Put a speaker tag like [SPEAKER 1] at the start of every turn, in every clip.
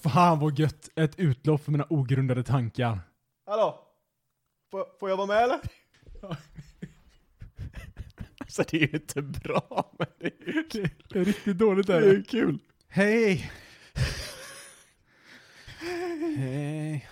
[SPEAKER 1] Fan vad gött. Ett utlopp för mina ogrundade tankar.
[SPEAKER 2] Hallå? Får, får jag vara med eller?
[SPEAKER 3] Alltså det är ju inte bra, men det är ju kul.
[SPEAKER 1] Det är riktigt dåligt
[SPEAKER 3] Det är ju kul.
[SPEAKER 1] Hej!
[SPEAKER 3] Hej.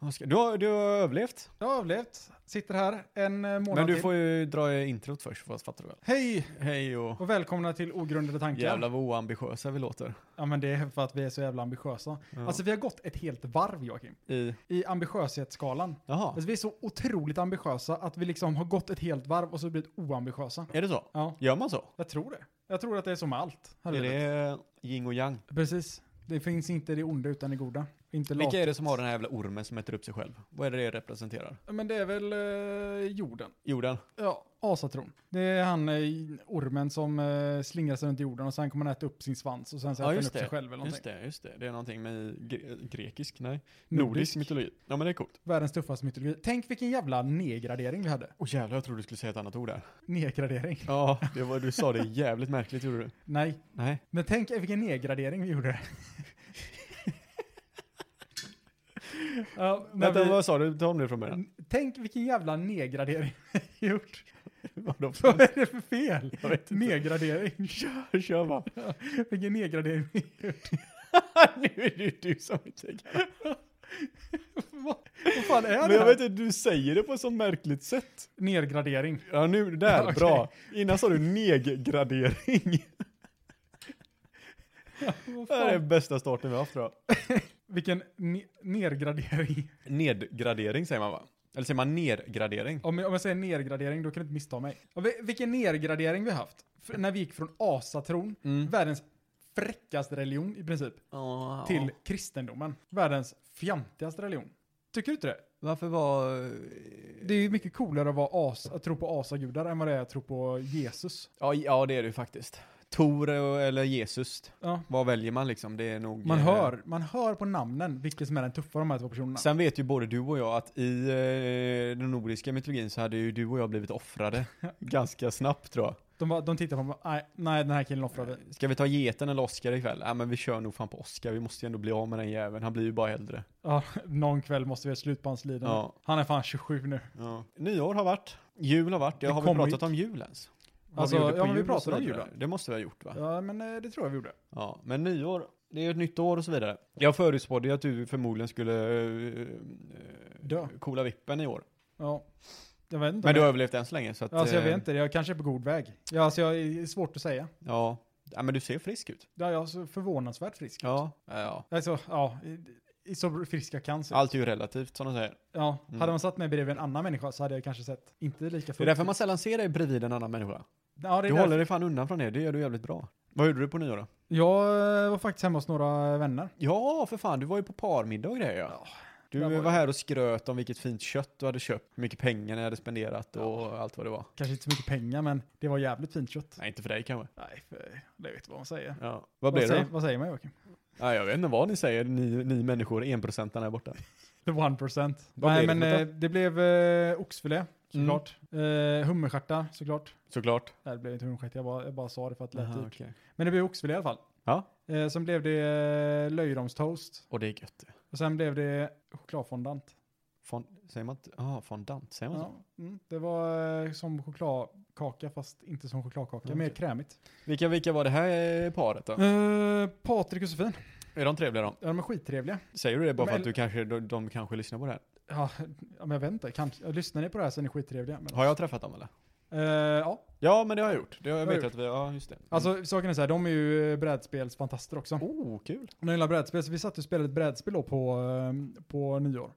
[SPEAKER 3] Oskar, du har, du har överlevt.
[SPEAKER 1] Jag har överlevt. Sitter här en eh, månad
[SPEAKER 3] Men du
[SPEAKER 1] till.
[SPEAKER 3] får ju dra introt först, för att fattar du väl?
[SPEAKER 1] Hej
[SPEAKER 3] Hej och...
[SPEAKER 1] och välkomna till ogrundade tankar.
[SPEAKER 3] Jävlar vad oambitiösa vi låter.
[SPEAKER 1] Ja men det är för att vi är så jävla ambitiösa.
[SPEAKER 3] Ja.
[SPEAKER 1] Alltså vi har gått ett helt varv Joakim.
[SPEAKER 3] I...
[SPEAKER 1] I ambitiöshetsskalan.
[SPEAKER 3] Jaha,
[SPEAKER 1] Alltså vi är så otroligt ambitiösa att vi liksom har gått ett helt varv och så blivit oambitiösa.
[SPEAKER 3] är det så?
[SPEAKER 1] Ja,
[SPEAKER 3] Gör man så?
[SPEAKER 1] jag tror det. Jag tror att det är som med allt. här i
[SPEAKER 3] Är
[SPEAKER 1] livet.
[SPEAKER 3] det yin och yang?
[SPEAKER 1] Precis. Det finns inte det onda utan det goda. Inte
[SPEAKER 3] Vilka
[SPEAKER 1] lat-
[SPEAKER 3] är det som har den här jävla ormen som äter upp sig själv? Vad är det det representerar?
[SPEAKER 1] Men det är väl eh, jorden.
[SPEAKER 3] Jorden?
[SPEAKER 1] Ja, asatron. Det är han, eh, ormen som eh, slingrar sig runt jorden och sen kommer han äta upp sin svans och sen så
[SPEAKER 3] Ja,
[SPEAKER 1] äter han
[SPEAKER 3] just
[SPEAKER 1] upp sig
[SPEAKER 3] det.
[SPEAKER 1] själv eller någonting.
[SPEAKER 3] Just det, just det. Det är någonting med gre- grekisk, nej.
[SPEAKER 1] Nordisk.
[SPEAKER 3] Nordisk, mytologi. Ja men det är coolt.
[SPEAKER 1] Världens tuffaste mytologi. Tänk vilken jävla nedgradering vi hade.
[SPEAKER 3] Åh jävlar, jag trodde du skulle säga ett annat ord där.
[SPEAKER 1] Nedgradering?
[SPEAKER 3] Ja, det var, du sa det jävligt märkligt gjorde du.
[SPEAKER 1] Nej.
[SPEAKER 3] Nej.
[SPEAKER 1] Men tänk vilken nedgradering vi gjorde. ja, när
[SPEAKER 3] Vänta,
[SPEAKER 1] vi,
[SPEAKER 3] vad sa du? Ta om det från början.
[SPEAKER 1] n- tänk vilken jävla nedgradering vi har gjort.
[SPEAKER 3] Vadå?
[SPEAKER 1] Vad är det för fel?
[SPEAKER 3] Jag vet inte.
[SPEAKER 1] Nedgradering.
[SPEAKER 3] Kör, kör bara.
[SPEAKER 1] Vilken nedgradering vi
[SPEAKER 3] nu är det ju du som inte kan.
[SPEAKER 1] Vad vad fan är
[SPEAKER 3] Men
[SPEAKER 1] det?
[SPEAKER 3] jag
[SPEAKER 1] här?
[SPEAKER 3] vet inte, du säger det på ett så märkligt sätt.
[SPEAKER 1] Nedgradering.
[SPEAKER 3] Ja nu, där,
[SPEAKER 1] Okej.
[SPEAKER 3] bra. Innan sa du neggradering.
[SPEAKER 1] Vad
[SPEAKER 3] Det här är
[SPEAKER 1] fan?
[SPEAKER 3] den bästa starten vi har haft tror jag.
[SPEAKER 1] Vilken ne- nedgradering.
[SPEAKER 3] Nedgradering säger man va? Eller säger man nedgradering?
[SPEAKER 1] Om jag, om jag säger nedgradering, då kan du inte missta mig. Ja, vi- Vilken nedgradering vi har haft. För när vi gick från asatron,
[SPEAKER 3] Mm.
[SPEAKER 1] världens fräckaste religion i princip, till kristendomen. Världens fjantigaste religion. Tycker du inte det?
[SPEAKER 3] Varför var...
[SPEAKER 1] Det är ju mycket coolare att, vara as, att tro på asagudar än vad det är att tro på Jesus.
[SPEAKER 3] Ja, ja det är det ju faktiskt. Tor eh, eller Jesus,
[SPEAKER 1] Ja.
[SPEAKER 3] vad väljer man liksom? Det är nog...
[SPEAKER 1] Man,
[SPEAKER 3] eh,
[SPEAKER 1] hör, man hör på namnen vilken som är den tuffa av de här två personerna.
[SPEAKER 3] Sen vet ju både du och jag att i eh, den nordiska mytologin så hade ju du och jag blivit offrade ganska snabbt tror jag.
[SPEAKER 1] De, bara- de tittar på mig och bara, nej, nej, den här killen offrar vi.
[SPEAKER 3] Ska vi ta geten eller Oscar ikväll? Nej men vi kör nog fan på Oscar, vi måste ju ändå bli av med den jäveln, han blir ju bara äldre.
[SPEAKER 1] Ja, någon kväll måste vi göra slut på hans lidande.
[SPEAKER 3] Ja.
[SPEAKER 1] Han är fan 27 nu.
[SPEAKER 3] Nyår har varit, jul har varit,
[SPEAKER 1] Det
[SPEAKER 3] har vi
[SPEAKER 1] kommer
[SPEAKER 3] pratat
[SPEAKER 1] inte.
[SPEAKER 3] om jul ens? Vad
[SPEAKER 1] Alltså,
[SPEAKER 3] gjorde på
[SPEAKER 1] ja, men vi
[SPEAKER 3] jul och
[SPEAKER 1] pratade
[SPEAKER 3] så
[SPEAKER 1] om
[SPEAKER 3] vidare.
[SPEAKER 1] julen.
[SPEAKER 3] Det måste vi ha gjort va? Ja.
[SPEAKER 1] Ja, men eh, det tror jag vi gjorde.
[SPEAKER 3] Men nyår, det är ju ett nytt år och så vidare. Jag förutspådde ju att du förmodligen skulle eh,
[SPEAKER 1] Dö.
[SPEAKER 3] eh, coola vippen i år.
[SPEAKER 1] Ja. Jag vet inte.
[SPEAKER 3] Men
[SPEAKER 1] om
[SPEAKER 3] du har
[SPEAKER 1] jag,
[SPEAKER 3] överlevt än så länge så att...
[SPEAKER 1] alltså, jag
[SPEAKER 3] eh,
[SPEAKER 1] vet inte, jag kanske är på god väg. Ja, alltså, jag det är svårt att säga.
[SPEAKER 3] Ja. ja, men du ser frisk ut.
[SPEAKER 1] Ja, jag är så förvånansvärt frisk.
[SPEAKER 3] Ja, ja.
[SPEAKER 1] Alltså, ja, i- i så frisk jag kan se.
[SPEAKER 3] Allt är ju relativt som de säger.
[SPEAKER 1] Ja,
[SPEAKER 3] Mm.
[SPEAKER 1] hade man satt mig bredvid en annan människa så hade jag kanske sett inte lika
[SPEAKER 3] Det är därför man sällan ser dig bredvid en annan människa.
[SPEAKER 1] Ja, det är
[SPEAKER 3] Du
[SPEAKER 1] därför.
[SPEAKER 3] håller dig fan undan från det, det gör du jävligt bra. Vad gjorde du på nyår då?
[SPEAKER 1] Jag eh, var faktiskt hemma hos några vänner.
[SPEAKER 3] Ja, för fan, du var ju på parmiddag och grejer ja.
[SPEAKER 1] Ja,
[SPEAKER 3] Du
[SPEAKER 1] där var
[SPEAKER 3] var,
[SPEAKER 1] jag.
[SPEAKER 3] här och skröt om vilket fint kött du hade köpt, hur mycket pengar ni hade spenderat och allt vad det var.
[SPEAKER 1] Kanske inte så mycket pengar, men det var jävligt fint kött.
[SPEAKER 3] Nej, inte för dig kanske.
[SPEAKER 1] Nej, för det vet vad man säger.
[SPEAKER 3] Ja. Vad blev det
[SPEAKER 1] säger,
[SPEAKER 3] då?
[SPEAKER 1] vad säger man Joakim?
[SPEAKER 3] Nej, jag vet inte vad ni säger, ni, ni människor, enprocentarna här borta.
[SPEAKER 1] The one percent.
[SPEAKER 3] Vad
[SPEAKER 1] Typ Nej,
[SPEAKER 3] blev det
[SPEAKER 1] men
[SPEAKER 3] för Mm.
[SPEAKER 1] eh, det blev eh, oxfilé såklart. Eh, hummerstjärtar såklart.
[SPEAKER 3] Såklart.
[SPEAKER 1] Nej, det blev inte hummerstjärtar, jag bara, jag bara sa det för att det lät
[SPEAKER 3] Aha,
[SPEAKER 1] dyrt.
[SPEAKER 3] okej.
[SPEAKER 1] Men det blev oxfilé i alla fall.
[SPEAKER 3] Ja.
[SPEAKER 1] Eh, sen blev det eh, löjromstoast.
[SPEAKER 3] Och det är gött det.
[SPEAKER 1] Och sen blev det chokladfondant.
[SPEAKER 3] Fond, säger man inte, ah, fondant, säger man så?
[SPEAKER 1] Ja, mm, det var eh, som chokladkaka fast inte som chokladkaka,
[SPEAKER 3] Ja,
[SPEAKER 1] mer
[SPEAKER 3] okej.
[SPEAKER 1] krämigt.
[SPEAKER 3] Vilka, vilka var det här paret då?
[SPEAKER 1] Eh, Patrik och Josefin,
[SPEAKER 3] Är de trevliga då?
[SPEAKER 1] ja, de är skittrevliga.
[SPEAKER 3] Säger du det bara för
[SPEAKER 1] Men-
[SPEAKER 3] att du kanske, de, de kanske lyssnar på det här?
[SPEAKER 1] Ja, ja, men jag vet inte, kanske, ja, lyssnar ni på det här så är ni skittrevliga. Men,
[SPEAKER 3] Har jag träffat dem eller?
[SPEAKER 1] Eh, ja,
[SPEAKER 3] Ja, men det har jag gjort. Det har jag
[SPEAKER 1] Har
[SPEAKER 3] vet
[SPEAKER 1] du
[SPEAKER 3] att vi, ja just det. Mm.
[SPEAKER 1] alltså saken är så här, de är ju eh, brädspelsfantaster också.
[SPEAKER 3] oh, kul.
[SPEAKER 1] De gillar brädspel, så vi satt och spelade ett brädspel då på, eh, på nyår.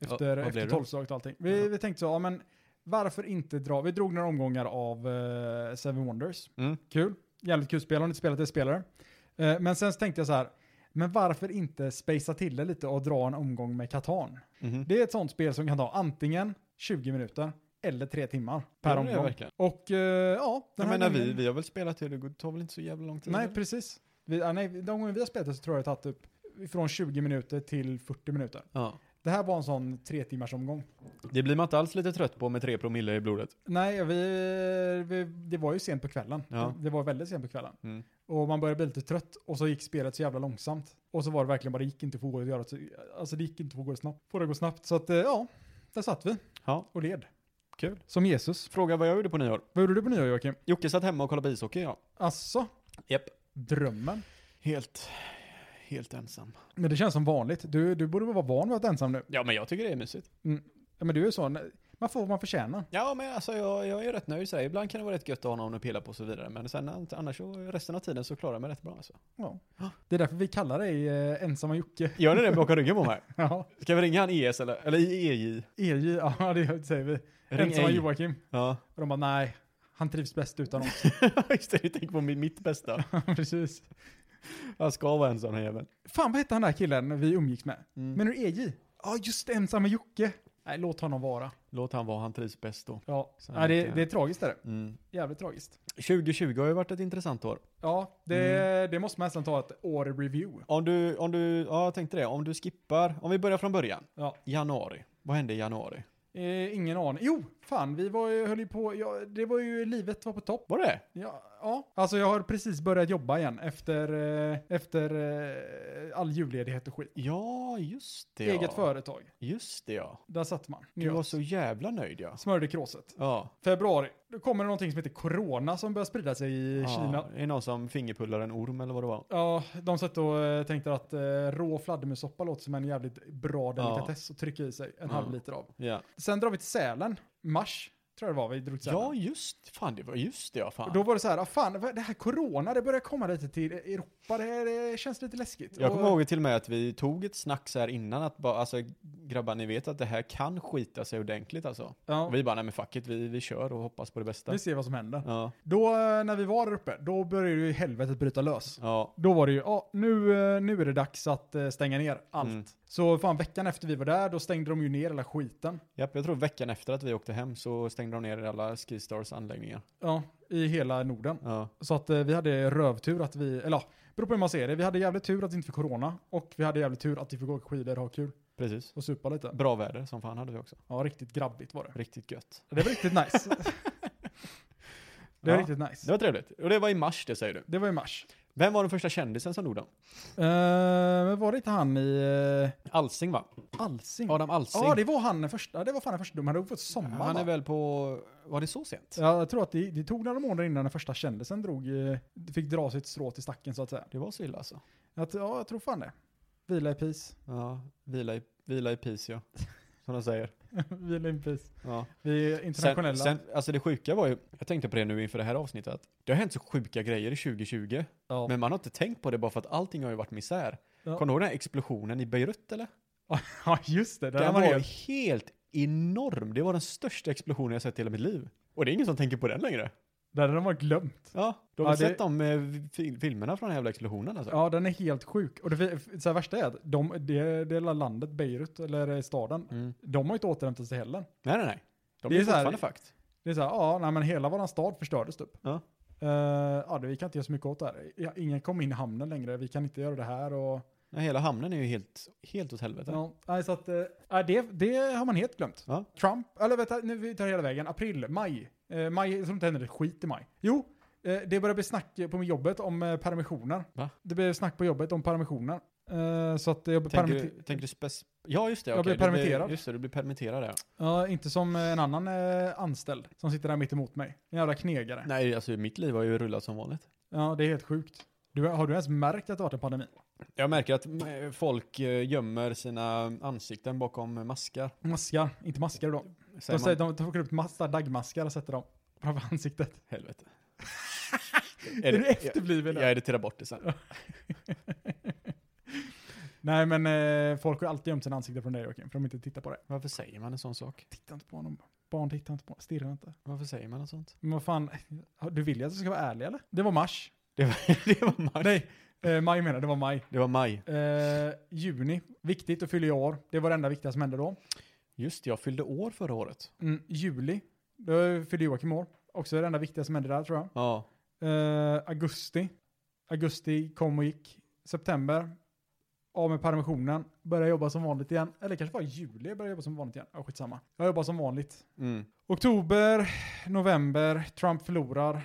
[SPEAKER 1] Efter,
[SPEAKER 3] vad blev
[SPEAKER 1] efter
[SPEAKER 3] det?
[SPEAKER 1] tolvslaget och allting. Vi,
[SPEAKER 3] Jaha.
[SPEAKER 1] vi tänkte så, ja men varför inte dra, vi drog några omgångar av eh, Seven Wonders.
[SPEAKER 3] Mm.
[SPEAKER 1] Kul, jävligt kul spel om ni inte spelat det, spelare. Eh, men sen så tänkte jag så här, men varför inte spacea till det lite och dra en omgång med Catan?
[SPEAKER 3] Mhm.
[SPEAKER 1] Det är ett sånt spel som kan ta antingen 20 minuter eller 3 timmar per
[SPEAKER 3] Ja, det är
[SPEAKER 1] omgång.
[SPEAKER 3] verkligen.
[SPEAKER 1] Och eh, ja, den
[SPEAKER 3] Jag
[SPEAKER 1] här
[SPEAKER 3] menar,
[SPEAKER 1] gången-
[SPEAKER 3] vi, vi har väl spelat det, det går- tar väl inte så jävla lång tid?
[SPEAKER 1] Nej,
[SPEAKER 3] eller?
[SPEAKER 1] precis. Vi, ja, nej, de gånger vi har spelat det så tror jag det har tagit upp från 20 minuter till 40 minuter.
[SPEAKER 3] ja.
[SPEAKER 1] Det här var en sån tre timmars omgång.
[SPEAKER 3] Det blir man inte alls lite trött på med tre promille i blodet.
[SPEAKER 1] Nej, vi, vi, det var ju sent på kvällen.
[SPEAKER 3] Ja.
[SPEAKER 1] Det var väldigt sent på kvällen.
[SPEAKER 3] Mm.
[SPEAKER 1] Och man började bli lite trött och så gick spelet så jävla långsamt. Och så var det verkligen bara, det gick inte att få det att göra. så- Alltså det gick inte att få det att gå snabbt. Få det att gå snabbt. Så att eh, ja, där satt vi
[SPEAKER 3] Ja,
[SPEAKER 1] och led.
[SPEAKER 3] kul.
[SPEAKER 1] Som Jesus.
[SPEAKER 3] Fråga vad jag gjorde på nyår.
[SPEAKER 1] Vad gjorde du på nyår Joakim?
[SPEAKER 3] Jocke satt hemma och kollade på ishockey, ja.
[SPEAKER 1] Alltså,
[SPEAKER 3] Japp.
[SPEAKER 1] drömmen.
[SPEAKER 3] Helt, helt ensam.
[SPEAKER 1] Men det känns som vanligt. Du, du borde vara van vid att vara ensam nu.
[SPEAKER 3] Ja, men jag tycker det är mysigt.
[SPEAKER 1] Ja, men du är sån, man får vad man förtjänar.
[SPEAKER 3] Ja, men alltså jag, jag är rätt nöjd sådär. Ibland kan det vara rätt gött att ha någon att pilla på och så vidare. Men sen an- annars så, resten av tiden så klarar jag mig rätt bra alltså.
[SPEAKER 1] Ja. Det är därför vi kallar dig eh, ensamma Jocke.
[SPEAKER 3] Gör ni det bakom ryggen på mig?
[SPEAKER 1] Ja,
[SPEAKER 3] Ska vi ringa han ES eller? E Eller EJ?
[SPEAKER 1] EJ, ja det säger vi. Ensamma
[SPEAKER 3] EJ.
[SPEAKER 1] Joakim.
[SPEAKER 3] Ja.
[SPEAKER 1] Och de bara nej, han trivs bäst utan oss.
[SPEAKER 3] Just det, tänk på mi- mitt bästa.
[SPEAKER 1] Precis.
[SPEAKER 3] Han ska vara ensam den jäveln.
[SPEAKER 1] Fan vad hette han där killen vi umgicks med?
[SPEAKER 3] Mm.
[SPEAKER 1] Men hur EJ? Ja just det, ensamma Jocke. Nej låt honom vara.
[SPEAKER 3] Låt han vara, han trivs bäst då.
[SPEAKER 1] Ja,
[SPEAKER 3] Så
[SPEAKER 1] nej, det,
[SPEAKER 3] mycket.
[SPEAKER 1] det är tragiskt är det.
[SPEAKER 3] Mm.
[SPEAKER 1] Jävligt tragiskt.
[SPEAKER 3] 2020 har ju varit ett intressant år.
[SPEAKER 1] Ja, det,
[SPEAKER 3] Mm.
[SPEAKER 1] det måste man nästan ta ett år i review.
[SPEAKER 3] Om du, om du, ja jag tänkte det, om du skippar, om vi börjar från början.
[SPEAKER 1] Ja.
[SPEAKER 3] Januari, vad hände i januari?
[SPEAKER 1] Eh, ingen aning. Jo, fan vi var ju, höll ju på, ja, det var ju, livet var på topp.
[SPEAKER 3] Var det det
[SPEAKER 1] Ja, ja, alltså jag har precis börjat jobba igen efter, eh, efter eh, all julledighet och skit.
[SPEAKER 3] Ja, just det ja.
[SPEAKER 1] Eget företag,
[SPEAKER 3] Just det ja.
[SPEAKER 1] där satt man.
[SPEAKER 3] Du var så jävla nöjd ja.
[SPEAKER 1] Smörjde kråset.
[SPEAKER 3] Ja.
[SPEAKER 1] Februari, då kommer det någonting som heter corona som börjar sprida sig i
[SPEAKER 3] ja.
[SPEAKER 1] Kina.
[SPEAKER 3] Är det någon som fingerpullar en orm eller vad det var?
[SPEAKER 1] Ja, de satt och eh, tänkte att eh, rå fladdermussoppa låter som en jävligt bra
[SPEAKER 3] Ja.
[SPEAKER 1] delikatess att trycka i sig en
[SPEAKER 3] Ja.
[SPEAKER 1] halv liter av.
[SPEAKER 3] Ja.
[SPEAKER 1] Sen drar vi till Sälen, mars tror jag det var vi drog till Sälen.
[SPEAKER 3] Ja, just, fan det var, just det ja, fan.
[SPEAKER 1] Och Då var det så här, ah, fan vad- det här corona, det börjar komma lite till Europa, det, här, det känns lite läskigt.
[SPEAKER 3] Jag
[SPEAKER 1] Och-
[SPEAKER 3] kommer ihåg till och med att vi tog ett snack så här innan att bara, alltså grabbar ni vet att det här kan skita sig ordentligt alltså.
[SPEAKER 1] ja,
[SPEAKER 3] Och
[SPEAKER 1] vi,
[SPEAKER 3] vi bara, nej men fuck it, vi, vi kör och hoppas på det bästa.
[SPEAKER 1] ser vad som händer.
[SPEAKER 3] Ja,
[SPEAKER 1] Då eh, när vi var där uppe, då började ju helvetet bryta lös.
[SPEAKER 3] ja,
[SPEAKER 1] Då var det ju, ja nu, eh, nu är det dags att eh, stänga ner allt.
[SPEAKER 3] Mm.
[SPEAKER 1] Så fan veckan efter vi var där, då stängde de ju ner hela skiten.
[SPEAKER 3] Japp, jag tror veckan efter att vi åkte hem så stängde de ner alla Skistars anläggningar.
[SPEAKER 1] Ja, i hela Norden.
[SPEAKER 3] Ja,
[SPEAKER 1] Så att eh, vi hade rövtur att vi, eller ja, beror på hur man ser det. Vi hade jävligt tur att vi inte fick corona och vi hade jävligt tur att vi fick åka skidor och ha kul
[SPEAKER 3] precis.
[SPEAKER 1] och supa lite.
[SPEAKER 3] Bra väder som fan hade vi också.
[SPEAKER 1] Ja, riktigt grabbigt var det.
[SPEAKER 3] Riktigt gött.
[SPEAKER 1] Det var riktigt nice. det var
[SPEAKER 3] Ja.
[SPEAKER 1] riktigt
[SPEAKER 3] Det
[SPEAKER 1] nice.
[SPEAKER 3] var trevligt. Och det var i mars det säger du.
[SPEAKER 1] Det var i mars.
[SPEAKER 3] Vem var den första kändisen som dog då?
[SPEAKER 1] Eh, men var det inte han i eh,
[SPEAKER 3] Alsing va?
[SPEAKER 1] Alsing? Ja,
[SPEAKER 3] Adam Alsing.
[SPEAKER 1] det var han den första. Det var fan den första. De hade fått sommar
[SPEAKER 3] Han är
[SPEAKER 1] va?
[SPEAKER 3] väl på, var det så sent?
[SPEAKER 1] Ja, jag tror att det, det tog några månader innan den första kändisen drog, eh, fick dra sitt strå till stacken så att säga.
[SPEAKER 3] Det var så illa alltså.
[SPEAKER 1] Jag, t- ja, jag tror fan det. Vila i peace.
[SPEAKER 3] Ja, vila i, vila i peace ja. Som de säger.
[SPEAKER 1] Vila i peace.
[SPEAKER 3] Ja.
[SPEAKER 1] Vi är internationella.
[SPEAKER 3] Sen, sen, alltså det sjuka var ju, jag tänkte på det nu inför det här avsnittet, att det har hänt så sjuka grejer i 2020,
[SPEAKER 1] ja.
[SPEAKER 3] men man har inte tänkt på det bara för att allting har ju varit misär.
[SPEAKER 1] Ja.
[SPEAKER 3] Kommer du ihåg den här explosionen i Beirut eller?
[SPEAKER 1] ja, just det. Där
[SPEAKER 3] den
[SPEAKER 1] var
[SPEAKER 3] var
[SPEAKER 1] det
[SPEAKER 3] helt...
[SPEAKER 1] ju.
[SPEAKER 3] enorm, det var den största explosionen jag sett i hela mitt liv. Och det är ingen som tänker på den längre.
[SPEAKER 1] Där hade de bara glömt.
[SPEAKER 3] Ja, du har
[SPEAKER 1] Ja,
[SPEAKER 3] väl
[SPEAKER 1] det-
[SPEAKER 3] sett de eh, fil- filmerna från den här jävla explosionen alltså?
[SPEAKER 1] Ja, den är helt sjuk. Och det så här värsta är att de, det, det lilla landet, Beirut, eller eh, staden,
[SPEAKER 3] Mm.
[SPEAKER 1] de har ju inte återhämtat sig heller.
[SPEAKER 3] Nej nej nej, de
[SPEAKER 1] Det
[SPEAKER 3] är,
[SPEAKER 1] är så här-
[SPEAKER 3] fortfarande fakt.
[SPEAKER 1] Det är så här, ja, nej, men hela våran stad förstördes typ.
[SPEAKER 3] Ja.
[SPEAKER 1] Eh, ja, det, vi kan inte göra så mycket åt det här. Ja, ingen kom in i hamnen längre, vi kan inte göra det här och...
[SPEAKER 3] Nej, hela hamnen är ju helt, helt åt helvete.
[SPEAKER 1] Ja, nej, så att, eh, nej, det, det har man helt glömt.
[SPEAKER 3] Ja.
[SPEAKER 1] Trump, eller vänta, nu vi tar hela vägen, april, maj. Eh, maj, jag tror inte det händer ett skit i maj. Jo, eh, det börjar bli snack på jobbet om eh, permissioner.
[SPEAKER 3] Va?
[SPEAKER 1] Det blev snack på jobbet om permissioner. Eh, så att jag blev
[SPEAKER 3] Tänker, du,
[SPEAKER 1] permitterad.
[SPEAKER 3] tänker du spec... Ja just det,
[SPEAKER 1] Jag
[SPEAKER 3] okej,
[SPEAKER 1] blev
[SPEAKER 3] du
[SPEAKER 1] permitterad.
[SPEAKER 3] Just det, du blir permitterad ja.
[SPEAKER 1] Ja, inte som eh, en annan eh, anställd som sitter där mitt emot mig. En jävla knegare.
[SPEAKER 3] Nej, alltså mitt liv har ju rullat som vanligt.
[SPEAKER 1] Ja, det är helt sjukt. Du, har du ens märkt att det har varit en pandemi?
[SPEAKER 3] Jag märker att eh, folk eh, gömmer sina ansikten bakom maskar.
[SPEAKER 1] Maskar, inte maskar då.
[SPEAKER 3] Säger
[SPEAKER 1] De, säger,
[SPEAKER 3] man,
[SPEAKER 1] de plockar upp massa dagmaskar och sätter dem framför ansiktet.
[SPEAKER 3] helvete.
[SPEAKER 1] Är,
[SPEAKER 3] det-
[SPEAKER 1] du efterbliven?
[SPEAKER 3] Jag, jag editerar bort det sen.
[SPEAKER 1] Nej, men eh, folk har ju alltid gömt sina ansikten från dig Joakim, för de inte tittar på det.
[SPEAKER 3] Varför säger man en sån sak?
[SPEAKER 1] Titta inte på honom. Barn tittar inte på stirrar inte.
[SPEAKER 3] Varför säger man något sånt?
[SPEAKER 1] Men vad fan, har- du vill ju att jag ska vara ärlig eller? Det var mars.
[SPEAKER 3] Det var, det var maj.
[SPEAKER 1] Nej, eh, maj menar jag, det var maj.
[SPEAKER 3] Det var maj.
[SPEAKER 1] Eh, juni, viktigt att fylla i år. Det var det enda viktiga som hände då.
[SPEAKER 3] Just det, jag fyllde år förra året.
[SPEAKER 1] Mm, juli, då fyllde Joakim år. Också det enda viktiga som hände där tror jag.
[SPEAKER 3] Ja.
[SPEAKER 1] Eh, augusti. Augusti kom och gick. September. av med permissionen, börja jobba som vanligt igen. Eller kanske bara i juli jag började jobba som vanligt igen. Ja, skitsamma. Jag jobbar som vanligt.
[SPEAKER 3] Mm.
[SPEAKER 1] Oktober, november, Trump förlorar.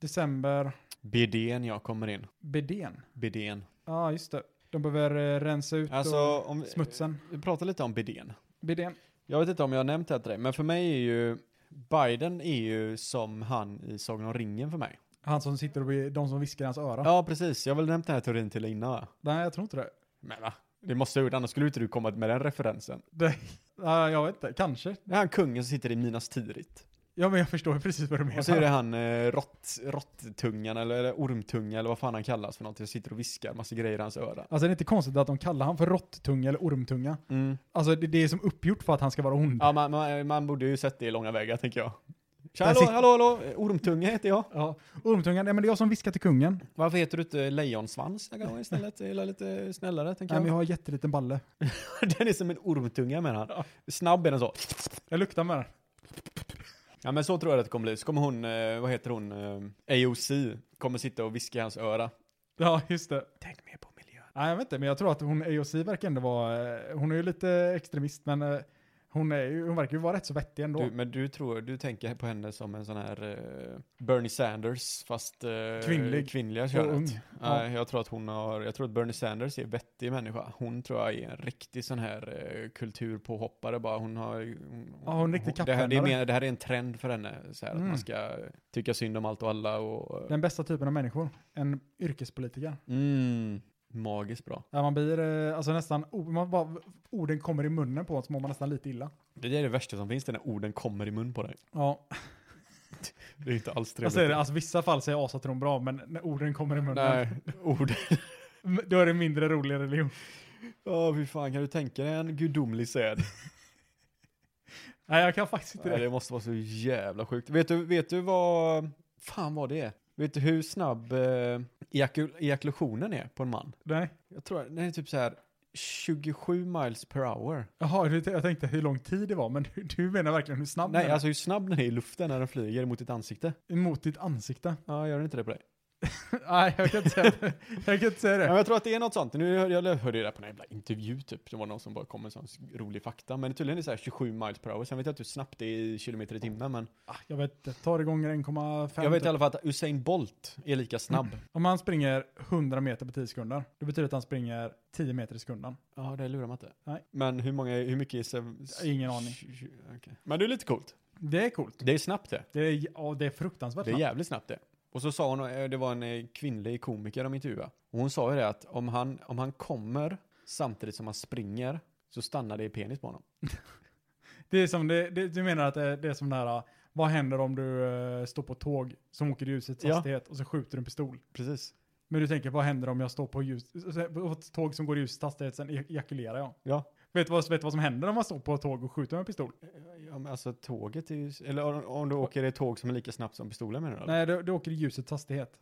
[SPEAKER 1] December,
[SPEAKER 3] Bidén jag kommer in.
[SPEAKER 1] Bedén.
[SPEAKER 3] Bidén.
[SPEAKER 1] Ja, just det. De behöver eh, rensa ut
[SPEAKER 3] Alltså, om
[SPEAKER 1] och smutsen.
[SPEAKER 3] vi pratar lite om Bidén.
[SPEAKER 1] Bedén.
[SPEAKER 3] Jag vet inte om jag har nämnt det här till dig, men för mig är ju Biden är ju som han i Sagan om ringen för mig.
[SPEAKER 1] Han som sitter och blir, de som viskar i hans öra.
[SPEAKER 3] Ja, precis. Jag har väl nämnt den här teorin till dig innan va?
[SPEAKER 1] Nej, jag tror inte det.
[SPEAKER 3] Men va? Det måste jag ha gjort, annars skulle inte du komma med den referensen.
[SPEAKER 1] det ja, jag vet inte, kanske.
[SPEAKER 3] Det är han kungen som sitter i Minas Tirith.
[SPEAKER 1] Ja, men jag förstår ju precis vad du menar.
[SPEAKER 3] Och så är det han eh, rått- råttungan, eller, eller ormtunga, eller vad fan han kallas för någonting. Jag sitter och viskar massa grejer i hans öra.
[SPEAKER 1] Alltså det är inte konstigt att de kallar han för råttunga eller ormtunga.
[SPEAKER 3] Mm.
[SPEAKER 1] Alltså det, det är som uppgjort för att han ska vara ond.
[SPEAKER 3] Ja, man, man, man borde ju sett det i långa vägar, tänker jag. Tja,
[SPEAKER 1] Där
[SPEAKER 3] hallå,
[SPEAKER 1] sitter-
[SPEAKER 3] hallå, hallå, Eh, ormtunge heter jag.
[SPEAKER 1] Ja, ormtunga, nej men det är jag som viskar till kungen.
[SPEAKER 3] Varför heter du inte lejonsvans någon gång istället? Eller lite snällare, tänker
[SPEAKER 1] Nej men
[SPEAKER 3] jag.
[SPEAKER 1] jag har en jätteliten balle.
[SPEAKER 3] Den är som en ormtunga menar han. Snabb är den så.
[SPEAKER 1] Jag luktar med den.
[SPEAKER 3] Ja men så tror jag att det kommer bli. Så kommer hon, eh, vad heter hon, eh, AOC, kommer sitta och viska i hans öra.
[SPEAKER 1] Ja, just det.
[SPEAKER 3] Tänk mer på miljön.
[SPEAKER 1] Nej jag vet inte, men jag tror att hon AOC verkar ändå vara, eh, hon är ju lite extremist men eh, hon, är, ju- hon verkar ju vara rätt så vettig ändå.
[SPEAKER 3] Du, men du tror, du tänker på henne som en sån här eh, Bernie Sanders fast eh,
[SPEAKER 1] Kvinnlig.
[SPEAKER 3] kvinnliga
[SPEAKER 1] och
[SPEAKER 3] könet.
[SPEAKER 1] ung.
[SPEAKER 3] Nej,
[SPEAKER 1] Ja.
[SPEAKER 3] jag tror att hon har, jag tror att Bernie Sanders är en vettig människa. Hon tror jag är en riktig sån här eh, kulturpåhoppare bara. Hon har, hon,
[SPEAKER 1] Ja, hon är en riktig
[SPEAKER 3] det, här, det, är
[SPEAKER 1] kapplöpare.
[SPEAKER 3] mer, det här är en trend för henne, så här, att
[SPEAKER 1] Mm.
[SPEAKER 3] man ska tycka synd om allt och alla och...
[SPEAKER 1] Den bästa typen av människor. En yrkespolitiker.
[SPEAKER 3] Mm, magiskt bra.
[SPEAKER 1] Där man blir, eh, alltså nästan, o- man bara, orden kommer i munnen på en så mår man nästan lite illa.
[SPEAKER 3] Det är det värsta som finns, det är när orden kommer i mun på dig.
[SPEAKER 1] Ja,
[SPEAKER 3] Det är inte alls trevligt.
[SPEAKER 1] Alltså, är det, alltså vissa fall säger asatron bra, men när orden kommer i munnen,
[SPEAKER 3] Nej, ord.
[SPEAKER 1] då är det mindre rolig religion.
[SPEAKER 3] Ja, fy fan, kan du tänka dig en gudomlig säd?
[SPEAKER 1] Nej, jag kan faktiskt inte
[SPEAKER 3] Nej,
[SPEAKER 1] det.
[SPEAKER 3] det måste vara så jävla sjukt. Vet du, vet du vad, fan vad det är? Vet du hur snabb eh, ejakul- ejakulationen är på en man?
[SPEAKER 1] Nej.
[SPEAKER 3] Jag tror den är typ så här 27 miles per hour.
[SPEAKER 1] Jaha, du- jag tänkte hur lång tid det var, men du- du menar verkligen hur snabb den
[SPEAKER 3] Nej,
[SPEAKER 1] är?
[SPEAKER 3] alltså hur snabb den är i luften när den flyger mot ditt ansikte.
[SPEAKER 1] Mot ditt ansikte.
[SPEAKER 3] Ja, gör den inte det på dig?
[SPEAKER 1] Nej, jag kan inte säga det. Jag kan inte säga
[SPEAKER 3] Ja,
[SPEAKER 1] det.
[SPEAKER 3] men jag tror att det är något sånt. Nu hörde jag, jag hörde ju det där på en jävla intervju typ. Det var någon som bara kom med sån rolig fakta. Men tydligen är det så här 27 miles per hour. Sen vet jag inte hur snabbt det är i kilometer i timmen. Men
[SPEAKER 1] Ah, Jag vet inte, ta det gånger 1,5.
[SPEAKER 3] jag vet i
[SPEAKER 1] typ.
[SPEAKER 3] alla fall att Usain Bolt är lika snabb.
[SPEAKER 1] Om han springer 100 meter på 10 sekunder, det betyder att han springer 10 meter i sekunden.
[SPEAKER 3] Ja, det lurar man inte.
[SPEAKER 1] Nej.
[SPEAKER 3] Men hur många, hur mycket är sev- s-
[SPEAKER 1] Ingen aning.
[SPEAKER 3] tj- tj- okej. Men det är lite coolt.
[SPEAKER 1] Det är coolt.
[SPEAKER 3] Det är snabbt det.
[SPEAKER 1] Det är, ja, det är fruktansvärt
[SPEAKER 3] Det är
[SPEAKER 1] snabbt.
[SPEAKER 3] jävligt snabbt det. Och så sa hon, eh, det var en eh, kvinnlig komiker de intervjuade. Och hon sa ju det att om han, om han kommer samtidigt som han springer så stannar det i penis på honom.
[SPEAKER 1] Det är som, det, det, du menar att det, det är som nära, vad händer om du eh, står på tåg som åker i ljusets
[SPEAKER 3] Ja.
[SPEAKER 1] hastighet och så skjuter du en pistol?
[SPEAKER 3] Precis.
[SPEAKER 1] Men du tänker, vad händer om jag står på, ljus, alltså, på ett tåg som går i ljusets hastighet, sen e- ejakulerar jag?
[SPEAKER 3] Ja.
[SPEAKER 1] Vet du, vad, vet du vad som händer om man står på ett tåg och skjuter med en pistol?
[SPEAKER 3] Ja men alltså tåget är ju, eller om- om du åker i ett tåg som är lika snabbt som pistolen menar du? eller?
[SPEAKER 1] Nej, du, du åker i ljusets hastighet.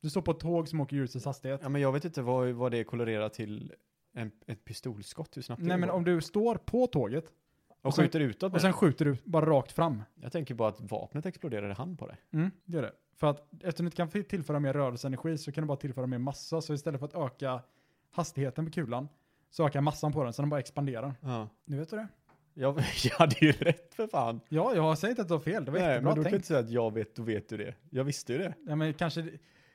[SPEAKER 1] Du står på ett tåg som åker i ljusets hastighet.
[SPEAKER 3] Ja men jag vet inte vad, vad det korrelerar till en, ett pistolskott, hur snabbt det
[SPEAKER 1] Nej, men
[SPEAKER 3] går.
[SPEAKER 1] om du står på tåget
[SPEAKER 3] Och
[SPEAKER 1] och sen-
[SPEAKER 3] skjuter utåt
[SPEAKER 1] och
[SPEAKER 3] med
[SPEAKER 1] sen
[SPEAKER 3] den.
[SPEAKER 1] skjuter du bara rakt fram.
[SPEAKER 3] Jag tänker bara att vapnet exploderar i hand på dig.
[SPEAKER 1] Mm, det gör det. För att eftersom du inte kan tillföra mer rörelseenergi så kan du bara tillföra mer massa. Så istället för att öka hastigheten på kulan så ökar massan på den så den bara expanderar.
[SPEAKER 3] Ja.
[SPEAKER 1] Nu vet du det.
[SPEAKER 3] Jag, jag hade ju rätt för fan.
[SPEAKER 1] Ja, jag säger inte att du har fel. Det var
[SPEAKER 3] Nej
[SPEAKER 1] jättebra
[SPEAKER 3] men då kan du
[SPEAKER 1] tänkt.
[SPEAKER 3] inte säga att jag vet, då vet du det. Jag visste ju det.
[SPEAKER 1] Ja, men kanske,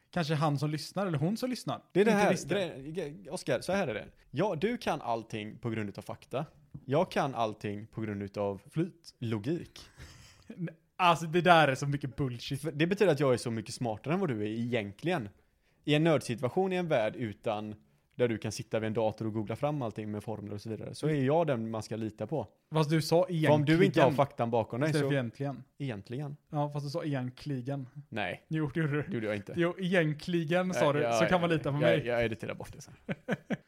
[SPEAKER 1] kanske han som lyssnar eller hon som lyssnar.
[SPEAKER 3] Det är det
[SPEAKER 1] inte
[SPEAKER 3] här,
[SPEAKER 1] visste.
[SPEAKER 3] grejen- Oskar, så här är det. Ja, du kan allting på grund av fakta. Jag kan allting på grund av flyt, logik.
[SPEAKER 1] Alltså det där är så mycket bullshit.
[SPEAKER 3] För Det betyder att jag är så mycket smartare än vad du är egentligen. I en nödsituation i en värld utan där du kan sitta vid en dator och googla fram allting med formler och så vidare. Så är jag den man ska lita på.
[SPEAKER 1] Fast du sa
[SPEAKER 3] För
[SPEAKER 1] egentligen.
[SPEAKER 3] om du inte har faktan bakom dig
[SPEAKER 1] Istället för
[SPEAKER 3] så...
[SPEAKER 1] egentligen.
[SPEAKER 3] Egentligen?
[SPEAKER 1] Ja, fast du sa egentligen.
[SPEAKER 3] Nej,
[SPEAKER 1] Jo, det gjorde
[SPEAKER 3] det
[SPEAKER 1] du.
[SPEAKER 3] gjorde jag inte.
[SPEAKER 1] Jo, egentligen sa
[SPEAKER 3] Nej,
[SPEAKER 1] du,
[SPEAKER 3] Eh, jag-
[SPEAKER 1] så kan man lita på
[SPEAKER 3] jag,
[SPEAKER 1] mig.
[SPEAKER 3] Jag, jag editerar bort det sen.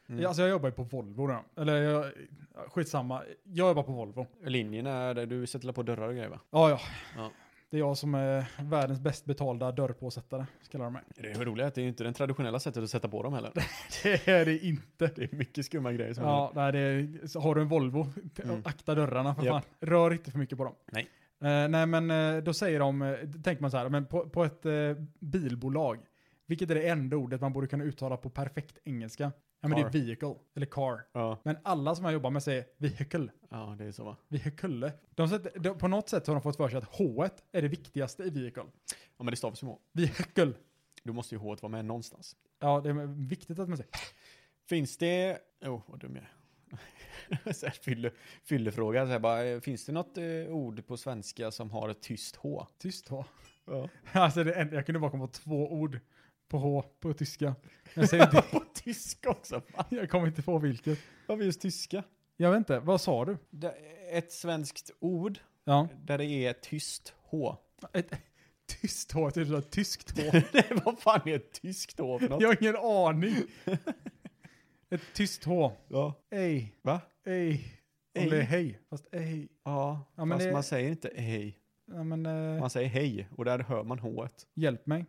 [SPEAKER 3] Mm.
[SPEAKER 1] Ja, Alltså jag jobbar ju på Volvo då. Eller jag, skitsamma, jag jobbar på Volvo.
[SPEAKER 3] Linjerna, där du sätter på dörrar och grejer va?
[SPEAKER 1] Ja, ja.
[SPEAKER 3] Ja.
[SPEAKER 1] Det är jag som är världens bäst betalda dörrpåsättare, kallar de mig.
[SPEAKER 3] Det är roligt att det är inte det traditionella sättet att sätta på dem heller.
[SPEAKER 1] Det är det inte.
[SPEAKER 3] Det är mycket skumma grejer som händer.
[SPEAKER 1] Ja, nej, det är, så har du en Volvo,
[SPEAKER 3] Mm.
[SPEAKER 1] akta dörrarna för
[SPEAKER 3] Japp.
[SPEAKER 1] fan. Rör inte för mycket på dem.
[SPEAKER 3] Nej.
[SPEAKER 1] Eh, nej, men eh, då säger de, eh, tänker man så här, men på, på ett eh, bilbolag, vilket är det enda ordet man borde kunna uttala på perfekt engelska? Ja, men det är
[SPEAKER 3] Car.
[SPEAKER 1] vehicle, eller car.
[SPEAKER 3] Ja,
[SPEAKER 1] Men alla som jag jobbar med säger vehicle,
[SPEAKER 3] ja det är så va.
[SPEAKER 1] vehicle. De, sätter- de, på något sätt har de fått för sig att H är det viktigaste i vehicle.
[SPEAKER 3] Ja men det stavas ju med H.
[SPEAKER 1] Vehicle.
[SPEAKER 3] Då måste ju H vara med någonstans.
[SPEAKER 1] Ja, det är viktigt att man säger.
[SPEAKER 3] Finns det, oh vad dum jag är. så här fyller, fyllefråga, så här bara, eh, finns det något eh, ord på svenska som har ett tyst H?
[SPEAKER 1] Tyst H.
[SPEAKER 3] Ja.
[SPEAKER 1] Alltså det, enda- jag kunde bara komma på två ord på H på tyska. Jag, säger inte,
[SPEAKER 3] på tyska också, fan.
[SPEAKER 1] jag kommer inte på vilket.
[SPEAKER 3] Varför just tyska?
[SPEAKER 1] Jag vet inte, vad sa du?
[SPEAKER 3] ett svenskt ord
[SPEAKER 1] Ja.
[SPEAKER 3] där det är ett tyst H.
[SPEAKER 1] Ett, tyst H, typ sådär tyskt H.
[SPEAKER 3] Nej, vad fan är ett tyskt H för något?
[SPEAKER 1] Jag har ingen aning. Ett tyst H.
[SPEAKER 3] Ja.
[SPEAKER 1] Ej,
[SPEAKER 3] Va?
[SPEAKER 1] ej. Om
[SPEAKER 3] Ej.
[SPEAKER 1] det är hej. Fast ej.
[SPEAKER 3] Ja,
[SPEAKER 1] Ja, men
[SPEAKER 3] fast
[SPEAKER 1] det-
[SPEAKER 3] man säger inte hej.
[SPEAKER 1] Ja, men, eh,
[SPEAKER 3] Man säger hej och där hör man H.
[SPEAKER 1] hjälp mig.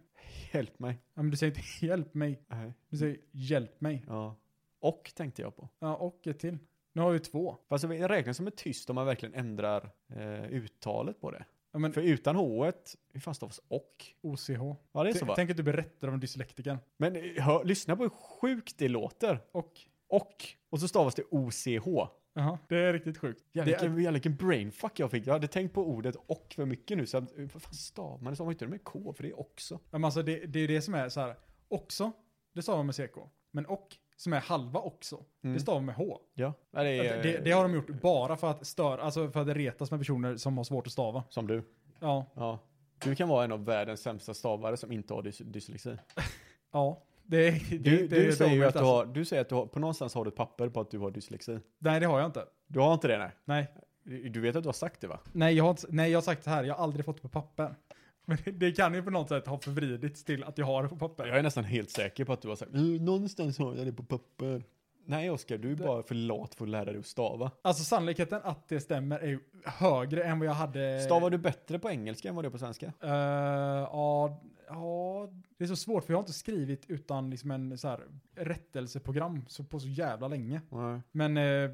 [SPEAKER 3] Hjälp mig.
[SPEAKER 1] Ja, men du säger inte hjälp mig.
[SPEAKER 3] Nej.
[SPEAKER 1] Du säger hjälp mig.
[SPEAKER 3] Ja. Och tänkte jag på.
[SPEAKER 1] Ja, och ett till. Nu har vi två.
[SPEAKER 3] Fast det räknas som ett tyst om man verkligen ändrar eh, uttalet på det.
[SPEAKER 1] Ja, men
[SPEAKER 3] För utan H, hur fan stavas och?
[SPEAKER 1] OCH.
[SPEAKER 3] Ja, det är så
[SPEAKER 1] Tänk,
[SPEAKER 3] va?
[SPEAKER 1] tänk att du berättar om dyslektiken.
[SPEAKER 3] Men eh, hör, lyssna på hur sjukt det låter.
[SPEAKER 1] Och.
[SPEAKER 3] Och, och så stavas det OCH.
[SPEAKER 1] Jaha, det är riktigt sjukt.
[SPEAKER 3] Jävlar,
[SPEAKER 1] Det är-
[SPEAKER 3] vilken, jävlar, vilken brainfuck jag fick. Jag hade tänkt på ordet och för mycket nu. Så att, vad fan stavar man det? Stavar man inte det med K? För det är också.
[SPEAKER 1] Ja, men alltså det, det är ju det som är så här, också, det stavar man med CK. Men och, som är halva också, det stavar man med H.
[SPEAKER 3] Ja. Nej, Mm. det, är,
[SPEAKER 1] Det, det, det har de gjort bara för att störa, alltså för att retas med personer som har svårt att stava.
[SPEAKER 3] eh, Som du.
[SPEAKER 1] Ja,
[SPEAKER 3] Ja. Du kan vara en av världens sämsta stavare som inte har dys dyslexi.
[SPEAKER 1] ja. Det, det, det,
[SPEAKER 3] Du, du
[SPEAKER 1] det
[SPEAKER 3] säger ju
[SPEAKER 1] omöjligt
[SPEAKER 3] att du
[SPEAKER 1] alltså.
[SPEAKER 3] har, du säger att du har, på någonstans har du ett papper på att du har dyslexi.
[SPEAKER 1] Nej, det har jag inte.
[SPEAKER 3] Du har inte det nej.
[SPEAKER 1] Nej,
[SPEAKER 3] Du du vet att du har sagt det va?
[SPEAKER 1] nej, jag har, inte, nej jag har sagt det här, jag har aldrig fått det på papper. Men det, det kan ju på något sätt ha förvridits till att jag har det på papper.
[SPEAKER 3] Jag är nästan helt säker på att du har sagt "Mm, någonstans har jag det på papper. Nej Oskar, du är bara för lat för att lära dig att stava.
[SPEAKER 1] Alltså sannolikheten att det stämmer är ju högre än vad jag hade...
[SPEAKER 3] Stavar du bättre på engelska än vad du är på svenska?
[SPEAKER 1] Eh, ja, ja, det är så svårt för jag har inte skrivit utan liksom en så här rättelseprogram så på så jävla länge.
[SPEAKER 3] Nej.
[SPEAKER 1] Men eh,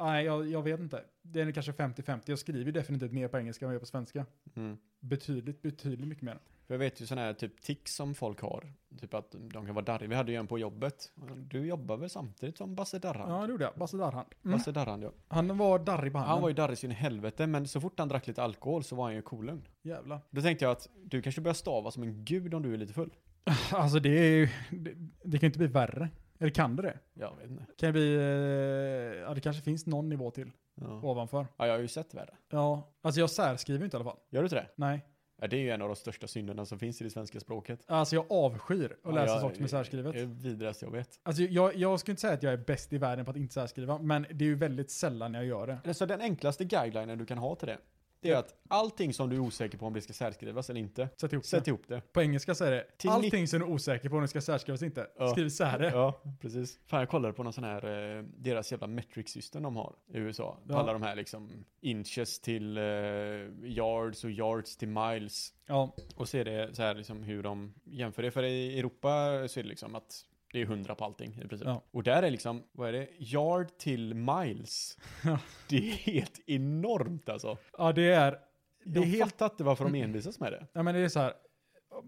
[SPEAKER 1] nej, jag, jag vet inte. Det är kanske 50-50. Jag skriver definitivt mer på engelska än vad jag gör på svenska.
[SPEAKER 3] Mm.
[SPEAKER 1] Betydligt, betydligt mycket mer.
[SPEAKER 3] För jag vet ju sådana här typ tics som folk har. Typ att de kan vara darriga. Vi hade ju en på jobbet. Du jobbar väl samtidigt som Basse Darran?
[SPEAKER 1] Ja, det gjorde jag. Basse Darhan. Mm.
[SPEAKER 3] Basse Darran ja.
[SPEAKER 1] Han var darrig på handen.
[SPEAKER 3] Han var ju darrig sin helvete men så fort han drack lite alkohol så var han ju kolugn.
[SPEAKER 1] Jävlar.
[SPEAKER 3] Då tänkte jag att du kanske börjar stava som en gud om du är lite full.
[SPEAKER 1] Alltså det är ju... Det, det kan ju inte bli värre. Eller kan det det?
[SPEAKER 3] Jag vet inte.
[SPEAKER 1] Kan det bli... Eh, ja, det kanske finns någon nivå till
[SPEAKER 3] Ja.
[SPEAKER 1] ovanför.
[SPEAKER 3] ja, jag har ju sett värre.
[SPEAKER 1] Ja, alltså jag särskriver ju inte i alla fall.
[SPEAKER 3] Gör du inte det?
[SPEAKER 1] Nej.
[SPEAKER 3] Ja, det är ju en av de största synderna som finns i det svenska språket.
[SPEAKER 1] Alltså jag avskyr att läsa
[SPEAKER 3] Ja, jag-
[SPEAKER 1] saker som är särskrivet.
[SPEAKER 3] Det är det vidrigaste jag vet.
[SPEAKER 1] Alltså jag, jag skulle inte säga att jag är bäst i världen på att inte särskriva, men det är ju väldigt sällan jag gör det.
[SPEAKER 3] Så den enklaste guidelinen du kan ha till det, det är att allting som du är osäker på om det ska särskrivas eller inte,
[SPEAKER 1] Sätt ihop
[SPEAKER 3] sätt
[SPEAKER 1] det.
[SPEAKER 3] ihop det.
[SPEAKER 1] På engelska så är det
[SPEAKER 3] Till
[SPEAKER 1] allting som du är osäker på om det ska särskrivas eller inte,
[SPEAKER 3] Ja.
[SPEAKER 1] skriv sär det.
[SPEAKER 3] Ja, precis. Fan, jag kollade på någon sån här, eh, deras jävla metric-system de har i USA.
[SPEAKER 1] Ja.
[SPEAKER 3] Alla de här liksom inches till eh, yards och yards till miles.
[SPEAKER 1] Ja.
[SPEAKER 3] Och så är det så här liksom hur de jämför det. För i Europa så är det liksom att det är 100 på allting i princip.
[SPEAKER 1] Ja.
[SPEAKER 3] Och där är liksom, vad är det? Yard till miles.
[SPEAKER 1] Ja.
[SPEAKER 3] det är helt enormt alltså.
[SPEAKER 1] ja, det är... Det
[SPEAKER 3] Jag
[SPEAKER 1] är helt... Mm.
[SPEAKER 3] fattar inte varför de envisas med det.
[SPEAKER 1] Ja, men det är så här.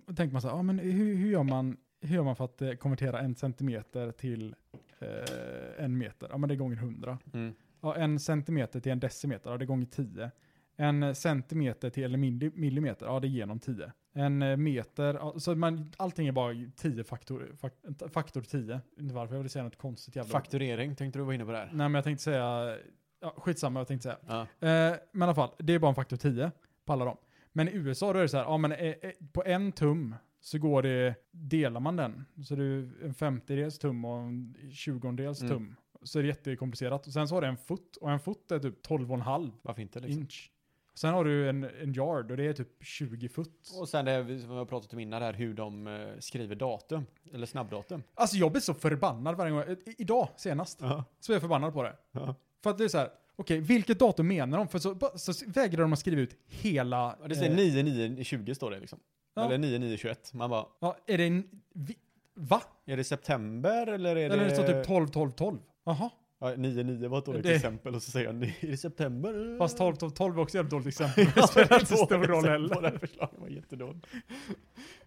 [SPEAKER 1] Då tänker man så här, ja, men hur, hur, gör man, hur gör man för att eh, konvertera en centimeter till eh, en meter? Ja, men det är gånger hundra.
[SPEAKER 3] Mm.
[SPEAKER 1] Ja, en centimeter till en decimeter, ja, det är gånger 10. En centimeter till en milli- millimeter, ja det är genom 10. En eh, meter, ja, så man, allting är bara 10 faktor, fak- faktor 10. Inte varför, jag ville säga något konstigt jävla ord.
[SPEAKER 3] Fakturering tänkte du vara inne på där.
[SPEAKER 1] Nej men jag tänkte säga, ja, skitsamma vad jag tänkte säga.
[SPEAKER 3] Ja.
[SPEAKER 1] Eh, men i alla fall, det är bara en faktor 10 på alla dem. Men i USA då är det så här, ja men eh, eh, på en tum så går det, delar man den, så det är en femtedels tum och en tjugondels
[SPEAKER 3] Mm.
[SPEAKER 1] tum. Så är det jättekomplicerat. Och sen så har du en fot, och en fot är typ 12,5
[SPEAKER 3] Varför inte liksom?
[SPEAKER 1] inch. Sen har du en, en yard och det är typ 20 foot.
[SPEAKER 3] Och sen det här vi- som vi har pratat om innan där, hur de eh, skriver datum. Eller snabbdatum.
[SPEAKER 1] Alltså jag blir så förbannad varje gång, I, idag senast,
[SPEAKER 3] Ja.
[SPEAKER 1] så är jag förbannad på det.
[SPEAKER 3] Ja.
[SPEAKER 1] För att det är så här, okej vilket datum menar de? För så, ba- så vägrar de att skriva ut hela...
[SPEAKER 3] Det säger
[SPEAKER 1] eh,
[SPEAKER 3] 9920 står det liksom.
[SPEAKER 1] Ja.
[SPEAKER 3] Eller 9921. Man bara,
[SPEAKER 1] Ja, är det en... Vi, va?
[SPEAKER 3] är det september eller är
[SPEAKER 1] Eller
[SPEAKER 3] det...
[SPEAKER 1] det står typ 12, 12, 12. Jaha.
[SPEAKER 3] Ja, 99 var ett dåligt
[SPEAKER 1] Det-
[SPEAKER 3] exempel och så säger jag "Nej, är det september?
[SPEAKER 1] Fast 12, 12, 12 är också jävligt dåligt exempel. Det spelar inte så stor roll heller. Ehm,
[SPEAKER 3] Det här förslaget var jättedåligt.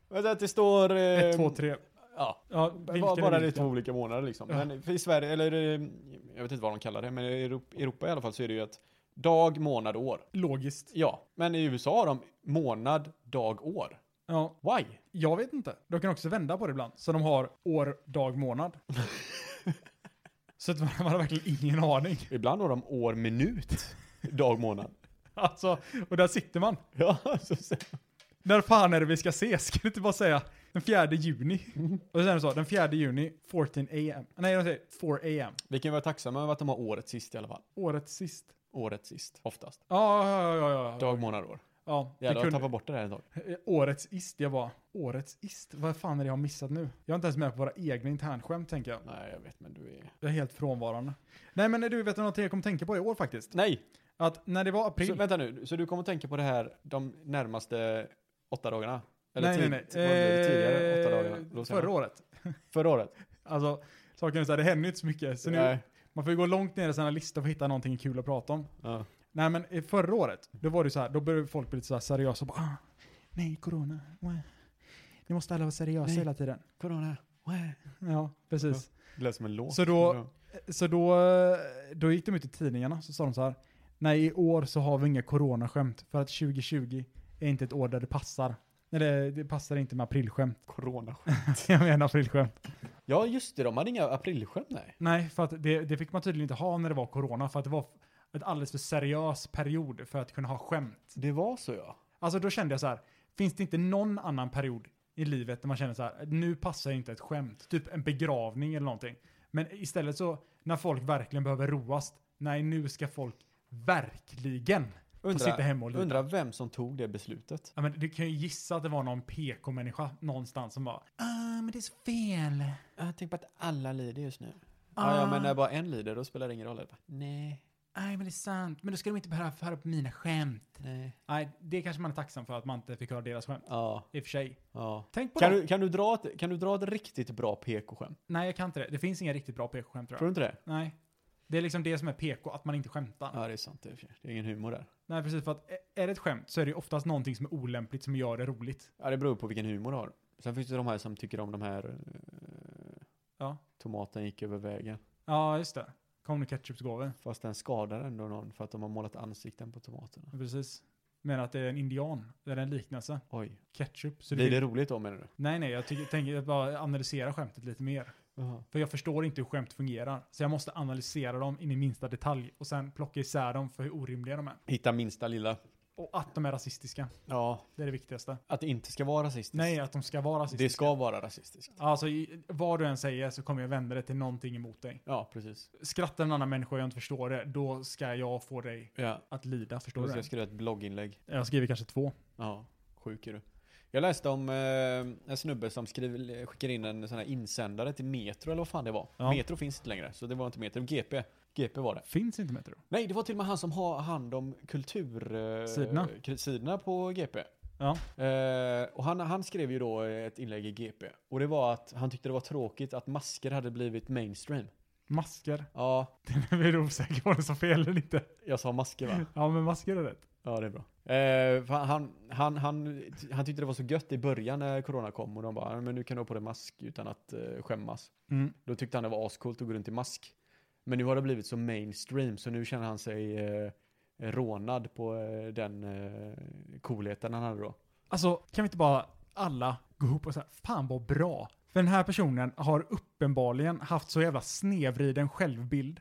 [SPEAKER 3] Men så att det står... eh,
[SPEAKER 1] 1, 2, 3.
[SPEAKER 3] Ja,
[SPEAKER 1] Ja,
[SPEAKER 3] Bara-
[SPEAKER 1] vilken är
[SPEAKER 3] bara det är
[SPEAKER 1] vilken?
[SPEAKER 3] två olika månader liksom.
[SPEAKER 1] Ja.
[SPEAKER 3] Men för i Sverige, eller eh, jag vet inte vad de kallar det, men i Europ- Europa i alla fall så är det ju att dag, månad, år.
[SPEAKER 1] Logiskt.
[SPEAKER 3] Ja, men i USA har de månad, dag, år.
[SPEAKER 1] Ja,
[SPEAKER 3] Why?
[SPEAKER 1] jag vet inte. De kan också vända på det ibland. Så de har år, dag, månad. så att man, man har verkligen ingen aning.
[SPEAKER 3] Ibland har de år, minut, dag, månad.
[SPEAKER 1] Alltså, och där sitter man.
[SPEAKER 3] Ja, så, så.
[SPEAKER 1] När fan är det vi ska ses? Ska du inte bara säga den 4 juni? Och sen så, den 4 juni, 14 am. Nej, de säger 4 am.
[SPEAKER 3] Vi kan ju vara tacksamma över att de har året sist i alla fall.
[SPEAKER 1] Året sist.
[SPEAKER 3] Året sist, oftast.
[SPEAKER 1] Ja, ja, ja, ja, ja.
[SPEAKER 3] Dag, månad, år.
[SPEAKER 1] ja det
[SPEAKER 3] Jävlar, jag
[SPEAKER 1] kunde,
[SPEAKER 3] tappade bort det där ett tag.
[SPEAKER 1] eh, årets ist, jag bara, årets ist? Vad fan är det jag har missat nu? Jag är inte ens med på våra egna internskämt, tänker jag.
[SPEAKER 3] Nej, jag vet, men du är...
[SPEAKER 1] Jag är helt frånvarande. Nej, men du, vet du någonting jag kommer tänka på i år faktiskt?
[SPEAKER 3] Nej!
[SPEAKER 1] Att när det var
[SPEAKER 3] Så,
[SPEAKER 1] april...
[SPEAKER 3] vänta nu, så du kommer tänka på det här de närmaste åtta dagarna?
[SPEAKER 1] nej, nej, nej.
[SPEAKER 3] tid- vad blir det, tidigare åtta
[SPEAKER 1] Eh,
[SPEAKER 3] dagarna? Låt säga.
[SPEAKER 1] Förra året.
[SPEAKER 3] Förra året?
[SPEAKER 1] Alltså, saken är så här, det händer ju inte så mycket. Så nu,
[SPEAKER 3] Nej.
[SPEAKER 1] man får ju gå långt ner i sina listor för att hitta någonting kul att prata om.
[SPEAKER 3] Ja.
[SPEAKER 1] Nej men i förra året, då var det så här, då började folk bli lite så här seriösa och bara ah, nej corona, wow. ni måste alla vara seriösa
[SPEAKER 3] Nej.
[SPEAKER 1] hela tiden.
[SPEAKER 3] Corona.
[SPEAKER 1] Ja, precis.
[SPEAKER 3] Det lät som en låt.
[SPEAKER 1] Så då- Så då, eh, då gick de ut i tidningarna så sa de så här, nej i år så har vi inga coronaskämt för att 2020 är inte ett år där det passar. Nej det, det passar inte med aprilskämt.
[SPEAKER 3] Corona.
[SPEAKER 1] Jag menar aprilskämt.
[SPEAKER 3] Ja, just det. De hade inga aprilskämt, nej.
[SPEAKER 1] Nej, för att det, det fick man tydligen inte ha när det var corona för att det var ett alldeles för seriös period för att kunna ha skämt.
[SPEAKER 3] Det var så, ja.
[SPEAKER 1] Alltså då kände jag så här, finns det inte någon annan period i livet där man känner så här, nu passar inte ett skämt, typ en begravning eller någonting. Men istället så, när folk verkligen behöver roas, nej nu ska folk verkligen få sitta
[SPEAKER 3] Undrar
[SPEAKER 1] hemma och lida.
[SPEAKER 3] undra vem som tog det beslutet.
[SPEAKER 1] Ja, men du kan ju gissa att det var någon PK-människa någonstans som bara, ah men det är så fel.
[SPEAKER 3] tänk på att alla lider just nu. Ja, ja, men när bara en lider, då spelar det ingen roll. Jag Bara, nej,
[SPEAKER 1] Nej men det är sant, men då ska de inte behöva få höra på mina skämt.
[SPEAKER 3] nej.
[SPEAKER 1] Nej, det kanske man är tacksam för att man inte fick höra deras skämt.
[SPEAKER 3] Ja,
[SPEAKER 1] I och för sig.
[SPEAKER 3] ja.
[SPEAKER 1] Tänk på
[SPEAKER 3] Kan
[SPEAKER 1] kan
[SPEAKER 3] du, kan, du dra ett, kan du dra ett riktigt bra PK-skämt?
[SPEAKER 1] Nej jag kan inte det, det finns inga riktigt bra PK-skämt tror jag.
[SPEAKER 3] Tror du inte det?
[SPEAKER 1] Nej. Det är liksom det som är PK, att man inte skämtar.
[SPEAKER 3] Ja, det är sant. Det är, det är ingen humor där.
[SPEAKER 1] Nej, precis. För att ä- är det ett skämt så är det ju oftast någonting som är olämpligt som gör det roligt.
[SPEAKER 3] Ja, det beror på vilken humor du har. Sen finns det de här som tycker om de här... eh,
[SPEAKER 1] Ja.
[SPEAKER 3] Tomaten gick över vägen.
[SPEAKER 1] Ja, just det. Kom nu ketchupsgåvor.
[SPEAKER 3] Fast den skadar ändå någon för att de har målat ansikten på tomaterna.
[SPEAKER 1] Ja, Precis. Men att det är en indian, det är en liknelse.
[SPEAKER 3] Oj.
[SPEAKER 1] Ketchup. Så
[SPEAKER 3] Blir
[SPEAKER 1] det
[SPEAKER 3] det roligt då menar du?
[SPEAKER 1] Nej, nej, jag tycker, tänker bara analysera skämtet lite mer. För jag förstår inte hur skämt fungerar. Så jag måste analysera dem in i minsta detalj och sen plocka isär dem för hur orimliga de är.
[SPEAKER 3] Hitta minsta lilla.
[SPEAKER 1] Och att de är rasistiska.
[SPEAKER 3] Ja.
[SPEAKER 1] Det är det viktigaste.
[SPEAKER 3] Att det inte ska vara rasistiskt.
[SPEAKER 1] Nej, att de ska vara
[SPEAKER 3] Det
[SPEAKER 1] rasistiska.
[SPEAKER 3] ska vara rasistiskt.
[SPEAKER 1] Alltså, i- vad du än säger så kommer jag vända det till någonting emot dig.
[SPEAKER 3] Ja, precis.
[SPEAKER 1] skrattar en annan människa och jag inte förstår det, då ska jag få dig
[SPEAKER 3] Ja.
[SPEAKER 1] att lida, förstår
[SPEAKER 3] Då
[SPEAKER 1] du
[SPEAKER 3] ska jag
[SPEAKER 1] det?
[SPEAKER 3] skriva ett blogginlägg.
[SPEAKER 1] Jag skriver kanske två.
[SPEAKER 3] Ja, sjuk är du. Jag läste om eh, en snubbe som skriver, skickar in en sån här insändare till Metro eller vad fan det var.
[SPEAKER 1] Ja.
[SPEAKER 3] Metro finns inte längre, så det var inte Metro. GP. GP var det.
[SPEAKER 1] Finns inte Metro?
[SPEAKER 3] Nej, det var till och med han som har hand om kultur... eh,
[SPEAKER 1] Sidorna.
[SPEAKER 3] kri- sidorna på GP.
[SPEAKER 1] Ja.
[SPEAKER 3] Eh, och han, han skrev ju då ett inlägg i GP. Och det var att han tyckte det var tråkigt att masker hade blivit mainstream.
[SPEAKER 1] Masker.
[SPEAKER 3] Ja,
[SPEAKER 1] Vi är osäkra på om det som fel eller inte.
[SPEAKER 3] jag sa masker va?
[SPEAKER 1] Ja, men masker är rätt.
[SPEAKER 3] Ja, det är bra. Eh, för han, han, han, han tyckte det var så gött i början när corona kom och de bara, "Ja, men nu kan du ha på dig mask utan att eh, skämmas.
[SPEAKER 1] Mm.
[SPEAKER 3] Då tyckte han det var ascoolt att gå runt i mask. Men nu har det blivit så mainstream så nu känner han sig eh, rånad på eh, den eh, coolheten han hade då.
[SPEAKER 1] Alltså, kan vi inte bara alla gå ihop och säga fan vad bra. För den här personen har uppenbarligen haft så jävla snedvriden självbild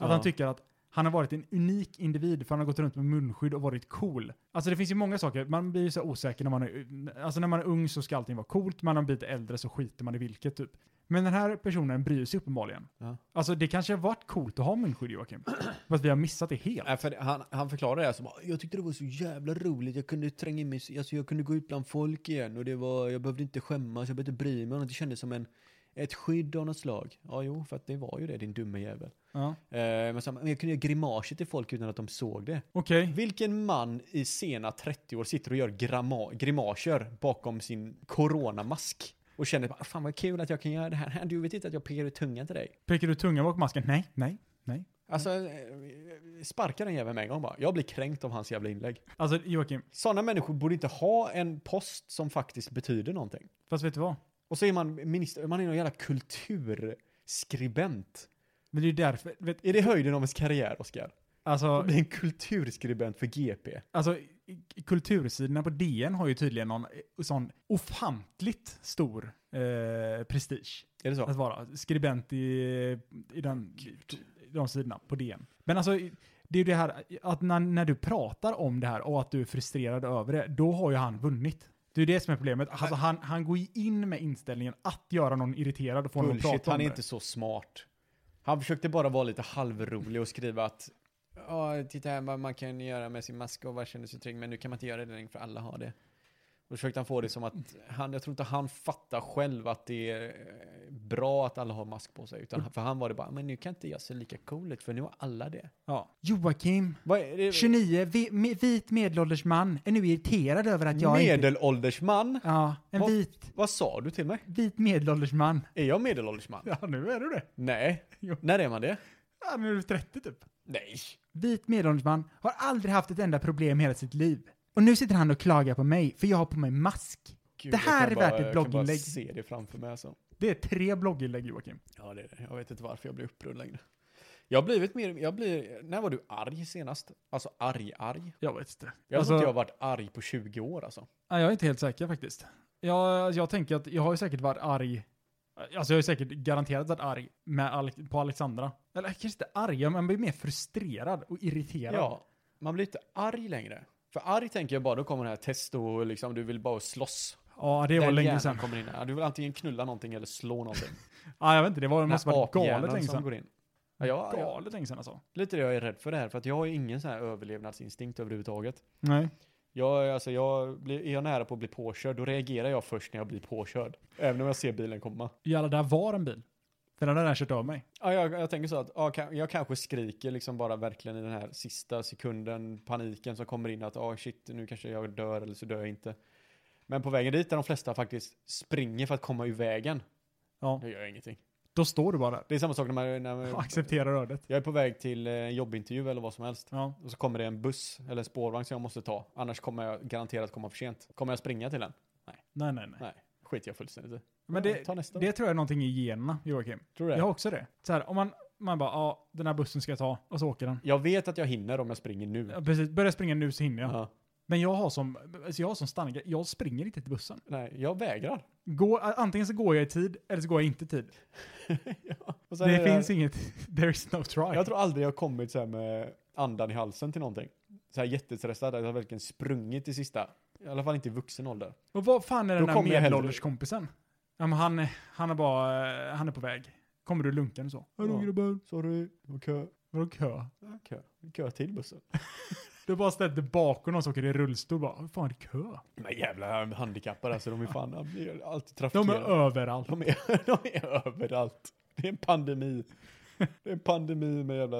[SPEAKER 1] att
[SPEAKER 3] Ja.
[SPEAKER 1] han tycker att han har varit en unik individ för han har gått runt med munskydd och varit cool. Alltså det finns ju många saker, man blir ju så här osäker när man är, alltså när man är ung så ska allting vara coolt, men när man blir lite äldre så skiter man i vilket typ. Men den här personen bryr sig uppenbarligen.
[SPEAKER 3] Ja.
[SPEAKER 1] Alltså det kanske har varit coolt att ha munskydd Joakim, fast vi har missat det helt.
[SPEAKER 3] Nej, för han, han förklarade det här som bara, jag tyckte det var så jävla roligt, jag kunde tränga in mig, alltså jag kunde gå ut bland folk igen och det var, jag behövde inte skämmas, jag behövde inte bry mig, och det kändes som en, ett skydd av något slag. Ja, jo, för att det var ju det, din dumme jävel.
[SPEAKER 1] Ja.
[SPEAKER 3] Eh, men, så, men jag kunde göra grimaser till folk utan att de såg det.
[SPEAKER 1] Okej,
[SPEAKER 3] Vilken man i sena 30 år sitter och gör grama, grimaser bakom sin coronamask? Och känner bara, fan vad kul att jag kan göra det här, du vet inte att jag pekar ut tungan till dig.
[SPEAKER 1] pekar du tungan bak masken? Nej, nej, nej.
[SPEAKER 3] Alltså, eh, sparka den jäveln med en gång bara. Jag blir kränkt av hans jävla inlägg.
[SPEAKER 1] Alltså Joakim,
[SPEAKER 3] Sådana människor borde inte ha en post som faktiskt betyder någonting.
[SPEAKER 1] fast vet du vad?
[SPEAKER 3] Och så är man minister, man är någon jävla kulturskribent.
[SPEAKER 1] Men det är ju därför, vet,
[SPEAKER 3] Är det höjden av ens karriär, Oskar? Att
[SPEAKER 1] alltså,
[SPEAKER 3] bli en kulturskribent för GP?
[SPEAKER 1] alltså i- i- kultursidorna på DN har ju tydligen någon eh, sån ofantligt stor eh, prestige.
[SPEAKER 3] Är det så?
[SPEAKER 1] Att vara skribent i, i, den, i de sidorna på DN. Men alltså, i- det är ju det här att när, när du pratar om det här och att du är frustrerad över det, då har ju han vunnit. Det är ju det som är problemet. Alltså, han, han går ju in med inställningen att göra någon irriterad och få någon att
[SPEAKER 3] Bullshit,
[SPEAKER 1] prata om
[SPEAKER 3] han är
[SPEAKER 1] det.
[SPEAKER 3] inte så smart. Han försökte bara vara lite halvrolig och skriva att Ja, titta här vad man kan göra med sin mask och vad känner sig trygg, men nu kan man inte göra det längre för alla har det. Och försökte han få det som att han, jag tror inte han fattar själv att det är eh, bra att alla har mask på sig, utan
[SPEAKER 1] Mm.
[SPEAKER 3] han- för han var det bara, men nu kan inte jag se lika cool ut för nu har alla det.
[SPEAKER 1] Ja. Joakim,
[SPEAKER 3] Vad är det?
[SPEAKER 1] 29, vi, me- vit medelålders man, är nu irriterad över att jag inte...
[SPEAKER 3] medelålders man?
[SPEAKER 1] Ja, en
[SPEAKER 3] Vad-
[SPEAKER 1] vit,
[SPEAKER 3] Vad sa du till mig?
[SPEAKER 1] vit medelålders man.
[SPEAKER 3] Är jag medelålders man?
[SPEAKER 1] Ja, nu är du det.
[SPEAKER 3] Nej.
[SPEAKER 1] Jo.
[SPEAKER 3] När är man det?
[SPEAKER 1] Ja, nu är du 30 typ.
[SPEAKER 3] Nej.
[SPEAKER 1] Vit medelålders man har aldrig haft ett enda problem hela sitt liv. Och nu sitter han och klagar på mig, för jag har på mig mask.
[SPEAKER 3] Gud,
[SPEAKER 1] Det
[SPEAKER 3] jag kan
[SPEAKER 1] här är
[SPEAKER 3] bara-
[SPEAKER 1] värt ett
[SPEAKER 3] Jag kan bara
[SPEAKER 1] blogginlägg.
[SPEAKER 3] se det framför mig alltså.
[SPEAKER 1] Det är tre blogginlägg, Joakim.
[SPEAKER 3] Ja, det är det. Jag vet inte varför jag blir upprörd längre. Jag har blivit mer, jag blir, när var du arg senast? Alltså arg, arg.
[SPEAKER 1] Jag vet inte.
[SPEAKER 3] Jag
[SPEAKER 1] Alltså-
[SPEAKER 3] tror inte jag har varit arg på 20 år alltså.
[SPEAKER 1] Nej, jag är inte helt säker faktiskt. Jag, jag tänker att jag har ju säkert varit arg. Alltså jag har ju säkert garanterat varit arg med Ale- på Alexandra. Eller kanske inte arg, men man blir mer frustrerad och irriterad.
[SPEAKER 3] Ja, man blir inte arg längre. För arg tänker jag bara, då kommer det här test och liksom, du vill bara slåss.
[SPEAKER 1] ja det var
[SPEAKER 3] Den
[SPEAKER 1] länge
[SPEAKER 3] hjärnan
[SPEAKER 1] sedan.
[SPEAKER 3] Kommer in. här. Du vill antingen knulla någonting eller slå någonting.
[SPEAKER 1] Ja, jag vet inte, det var, det måste
[SPEAKER 3] Den här
[SPEAKER 1] varit galet
[SPEAKER 3] aphjärnan
[SPEAKER 1] länge
[SPEAKER 3] som
[SPEAKER 1] sedan.
[SPEAKER 3] går in. Ja, jag, jag,
[SPEAKER 1] Galet länge sedan alltså.
[SPEAKER 3] lite det jag är rädd för det här, för att jag har ju ingen sån här överlevnadsinstinkt överhuvudtaget.
[SPEAKER 1] Nej.
[SPEAKER 3] Jag, är- alltså, jag blir, är jag nära på att bli påkörd, då reagerar jag först när jag blir påkörd. Även om jag ser bilen komma.
[SPEAKER 1] Jävlar, där var en bil. För den hade redan kört över mig.
[SPEAKER 3] Ja, jag, jag tänker så att ja, ka- jag kanske skriker liksom bara verkligen i den här sista sekunden, paniken som kommer in att oh, shit, nu kanske jag dör eller så dör jag inte. Men på vägen dit där de flesta faktiskt springer för att komma ur vägen,
[SPEAKER 1] Ja,
[SPEAKER 3] då gör jag ingenting.
[SPEAKER 1] då står du bara där.
[SPEAKER 3] Det är samma sak när man, när
[SPEAKER 1] och
[SPEAKER 3] man
[SPEAKER 1] Accepterar ödet.
[SPEAKER 3] jag är på väg till eh, jobbintervju eller vad som helst.
[SPEAKER 1] Ja.
[SPEAKER 3] Och så kommer det en buss eller en spårvagn som jag måste ta, annars kommer jag garanterat komma för sent. Kommer jag springa till den?
[SPEAKER 1] Nej, nej, nej.
[SPEAKER 3] Nej. Skiter jag fullständigt i.
[SPEAKER 1] Men det,
[SPEAKER 3] Ta nästa.
[SPEAKER 1] det tror jag är någonting i generna, Joakim.
[SPEAKER 3] Tror du det?
[SPEAKER 1] Jag har också det. Så här, om man, man bara, ja, den här bussen ska jag ta, och så åker den.
[SPEAKER 3] Jag vet att jag hinner om jag springer nu.
[SPEAKER 1] Ja, precis. Börjar jag springa nu så hinner jag.
[SPEAKER 3] Mm. Ja.
[SPEAKER 1] Men jag har som, alltså jag har som standardgrej, jag springer inte till bussen.
[SPEAKER 3] Nej, jag vägrar.
[SPEAKER 1] Går, antingen så går jag i tid, eller så går jag inte i tid.
[SPEAKER 3] ja. Och sen
[SPEAKER 1] Det,
[SPEAKER 3] är
[SPEAKER 1] finns inget, there is no try.
[SPEAKER 3] Jag tror aldrig jag har kommit så här med andan i halsen till någonting. Så här jättestressad, jag har verkligen sprungit i sista. I alla fall inte i vuxen ålder.
[SPEAKER 1] Och vad fan är
[SPEAKER 3] Då
[SPEAKER 1] den här
[SPEAKER 3] kommer jag hellre-
[SPEAKER 1] medelålderskompisen? Ja, men han, han är bara, eh, han är på väg. Kommer du lunken så? Hallå
[SPEAKER 3] Ja.
[SPEAKER 1] grabbar,
[SPEAKER 3] Sorry, det var kö.
[SPEAKER 1] vadå kö?
[SPEAKER 3] Ja, Kö. Kö till bussen.
[SPEAKER 1] Du har bara ställt dig bakom någon som åker i rullstol bara, vad fan är det kö?
[SPEAKER 3] Men jävla handikappade alltså, de är fan, de är alltid
[SPEAKER 1] De är
[SPEAKER 3] trafikerade.
[SPEAKER 1] överallt.
[SPEAKER 3] De är, de är överallt. Det är en pandemi. Det är en pandemi med jävla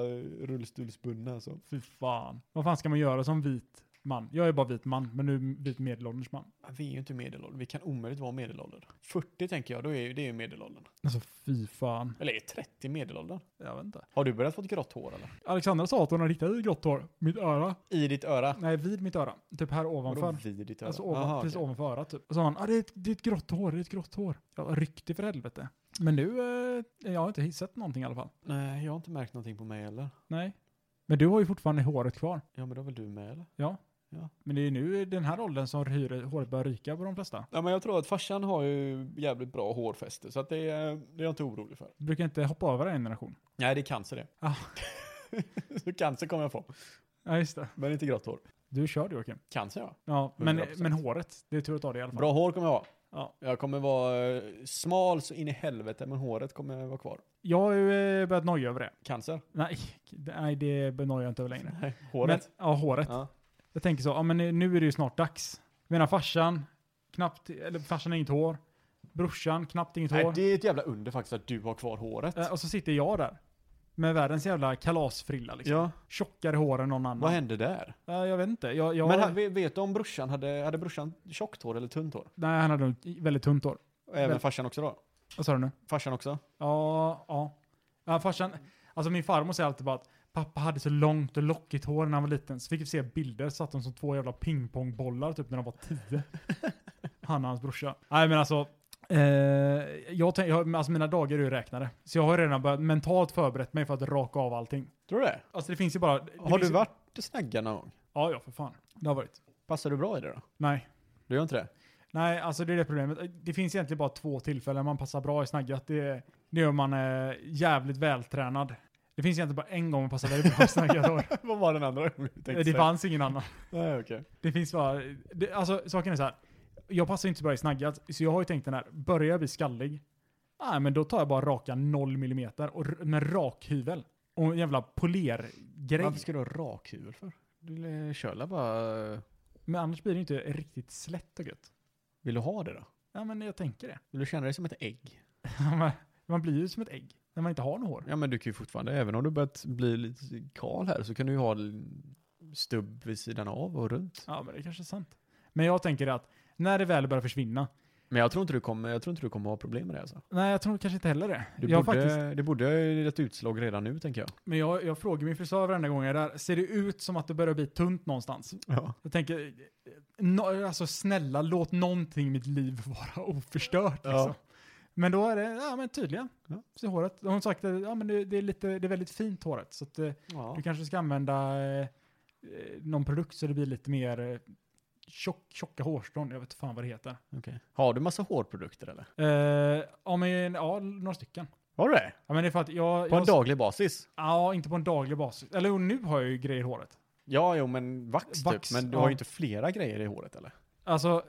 [SPEAKER 3] rullstolsbundna alltså.
[SPEAKER 1] Fy fan. Vad fan ska man göra som vit man? Jag är bara vit man, men nu är vit medelålders man.
[SPEAKER 3] Vi är ju inte medelålder, vi kan omöjligt vara medelålder. 40 tänker jag, då är ju, det är ju medelåldern.
[SPEAKER 1] Alltså fy fan.
[SPEAKER 3] Eller är 30 medelåldern?
[SPEAKER 1] Jag vet inte.
[SPEAKER 3] Har du börjat få ett grått hår eller?
[SPEAKER 1] Alexandra sa att hon har riktat i grått hår. Mitt öra.
[SPEAKER 3] I ditt öra?
[SPEAKER 1] Nej, vid mitt öra. Typ här
[SPEAKER 3] Vadå
[SPEAKER 1] ovanför.
[SPEAKER 3] vid ditt öra?
[SPEAKER 1] Alltså ovan,
[SPEAKER 3] Aha,
[SPEAKER 1] precis
[SPEAKER 3] okej.
[SPEAKER 1] ovanför örat typ. Och så sa hon, ah, det, är ett, det är ett grått hår, det är ett grått hår. Jag ryckte för helvete. Men nu, eh, jag har inte sett någonting i alla fall.
[SPEAKER 3] Nej, jag har inte märkt någonting på mig heller.
[SPEAKER 1] Nej. Men du har ju fortfarande håret kvar.
[SPEAKER 3] Ja, men då har väl du med eller?
[SPEAKER 1] Ja.
[SPEAKER 3] Ja.
[SPEAKER 1] Men det är nu i den här åldern som hyre- håret börjar ryka på de flesta.
[SPEAKER 3] Ja, men jag tror att farsan har ju jävligt bra hårfäste, så att det, är- det är jag inte orolig för.
[SPEAKER 1] Du brukar inte hoppa över en generation.
[SPEAKER 3] Nej, det är cancer det.
[SPEAKER 1] Ah.
[SPEAKER 3] så cancer kommer jag få,
[SPEAKER 1] Ja, just det.
[SPEAKER 3] men inte grått hår.
[SPEAKER 1] Du kör du, Joakim.
[SPEAKER 3] Cancer ja.
[SPEAKER 1] Ja, men,
[SPEAKER 3] 100%.
[SPEAKER 1] men håret. Det är tur att ta det i alla fall.
[SPEAKER 3] Bra hår kommer jag ha.
[SPEAKER 1] Ja.
[SPEAKER 3] Jag kommer vara eh, smal så in i helvete, men håret kommer vara kvar.
[SPEAKER 1] Jag har ju eh, börjat noja över det.
[SPEAKER 3] Cancer?
[SPEAKER 1] Nej, det- nej det nojar jag inte över längre.
[SPEAKER 3] Nej, håret.
[SPEAKER 1] Men, ja, håret.
[SPEAKER 3] Ja.
[SPEAKER 1] Jag tänker så, ja men nu är det ju snart dags. Jag menar farsan, knappt, eller farsan har inget hår. Brorsan, knappt inget
[SPEAKER 3] Nej,
[SPEAKER 1] hår.
[SPEAKER 3] det är ett jävla under faktiskt att du har kvar håret.
[SPEAKER 1] Eh, Och så sitter jag där. Med världens jävla kalasfrilla liksom. Tjockare hår än någon
[SPEAKER 3] Vad
[SPEAKER 1] annan.
[SPEAKER 3] hände där?
[SPEAKER 1] Eh, Jag vet inte. Jag, jag,
[SPEAKER 3] Men han, vet vet du om brorsan hade, hade brorsan tjockt hår eller tunt hår?
[SPEAKER 1] nej, han hade nog väldigt tunt hår.
[SPEAKER 3] Även
[SPEAKER 1] Men-
[SPEAKER 3] farsan också då?
[SPEAKER 1] Vad sa du nu?
[SPEAKER 3] Farsan också?
[SPEAKER 1] Ja, ja. ja farsan, alltså min farmor säger alltid bara att pappa hade så långt och lockigt hår när han var liten. Så fick vi se bilder, satt de som två jävla pingpongbollar typ när de var tio. Han och hans brorsa. Nej men alltså, Eh, jag tänk, jag, alltså mina dagar är ju räknade. Så jag har redan börjat mentalt förberett mig för att raka av allting.
[SPEAKER 3] Tror du det?
[SPEAKER 1] Alltså det finns ju bara... det
[SPEAKER 3] Har
[SPEAKER 1] finns
[SPEAKER 3] du
[SPEAKER 1] ju-
[SPEAKER 3] varit snaggad någon gång?
[SPEAKER 1] Ja, ja för fan. Det har varit.
[SPEAKER 3] Passar du bra i det då?
[SPEAKER 1] Nej.
[SPEAKER 3] Du gör inte det?
[SPEAKER 1] Nej, alltså det är det problemet. Det finns egentligen bara två tillfällen man passar bra i snaggat. Det, det är om man är jävligt vältränad. Det finns egentligen bara en gång man passar väldigt bra i snaggat.
[SPEAKER 3] Vad var den andra gången du
[SPEAKER 1] det fanns ingen annan.
[SPEAKER 3] Nej, okej.
[SPEAKER 1] Det finns bara... Det, alltså saken är så här. Jag passar inte så bra i snaggat, så jag har ju tänkt den här. Börjar jag bli skallig, nej men då tar jag bara raka 0 mm och r- med rak hyvel. Och en jävla polergrej.
[SPEAKER 3] Varför ska du ha rakhuvud för? Du eh, kör väl bara... eh,
[SPEAKER 1] Men annars blir det inte riktigt slätt och gött.
[SPEAKER 3] Vill du ha det då?
[SPEAKER 1] Ja men jag tänker det.
[SPEAKER 3] Vill du känna dig som ett ägg?
[SPEAKER 1] Man- man blir ju som ett ägg när man inte har något hår.
[SPEAKER 3] Ja men du kan ju fortfarande, även om du börjat bli lite kal här så kan du ju ha l- stubb vid sidan av och runt.
[SPEAKER 1] Ja, men det kanske är sant. Men jag tänker att när det väl börjar försvinna,
[SPEAKER 3] Men jag tror inte du kommer, jag tror inte du kommer ha problem med det alltså.
[SPEAKER 1] nej jag tror kanske inte heller det.
[SPEAKER 3] Du
[SPEAKER 1] jag har
[SPEAKER 3] borde,
[SPEAKER 1] faktiskt,
[SPEAKER 3] Det borde ha ett utslag redan nu tänker jag.
[SPEAKER 1] men jag, jag frågar min frisör varenda gång jag är där, ser det ut som att det börjar bli tunt någonstans?
[SPEAKER 3] Ja.
[SPEAKER 1] Jag tänker, no, alltså snälla låt någonting i mitt liv vara oförstört
[SPEAKER 3] Ja.
[SPEAKER 1] liksom. Men då är det, ja men tydligen,
[SPEAKER 3] Ja.
[SPEAKER 1] så håret. Hon har sagt att ja, men det, det, är lite, det är väldigt fint håret, så att, eh,
[SPEAKER 3] ja.
[SPEAKER 1] du kanske ska använda eh, eh, någon produkt så det blir lite mer eh, tjock, tjocka hårstrån, jag vet inte fan vad det heter.
[SPEAKER 3] Okej. Har du massa hårprodukter eller?
[SPEAKER 1] Eh, ja, men, ja, några stycken.
[SPEAKER 3] Har du det?
[SPEAKER 1] Ja, men det är för att jag...
[SPEAKER 3] På en
[SPEAKER 1] jag,
[SPEAKER 3] daglig basis?
[SPEAKER 1] Ja, inte på en daglig basis. Eller jo, nu har jag ju grejer i håret.
[SPEAKER 3] Ja, jo men vax,
[SPEAKER 1] Vax,
[SPEAKER 3] typ. Men du
[SPEAKER 1] ja.
[SPEAKER 3] har ju inte flera grejer i håret eller?
[SPEAKER 1] Alltså,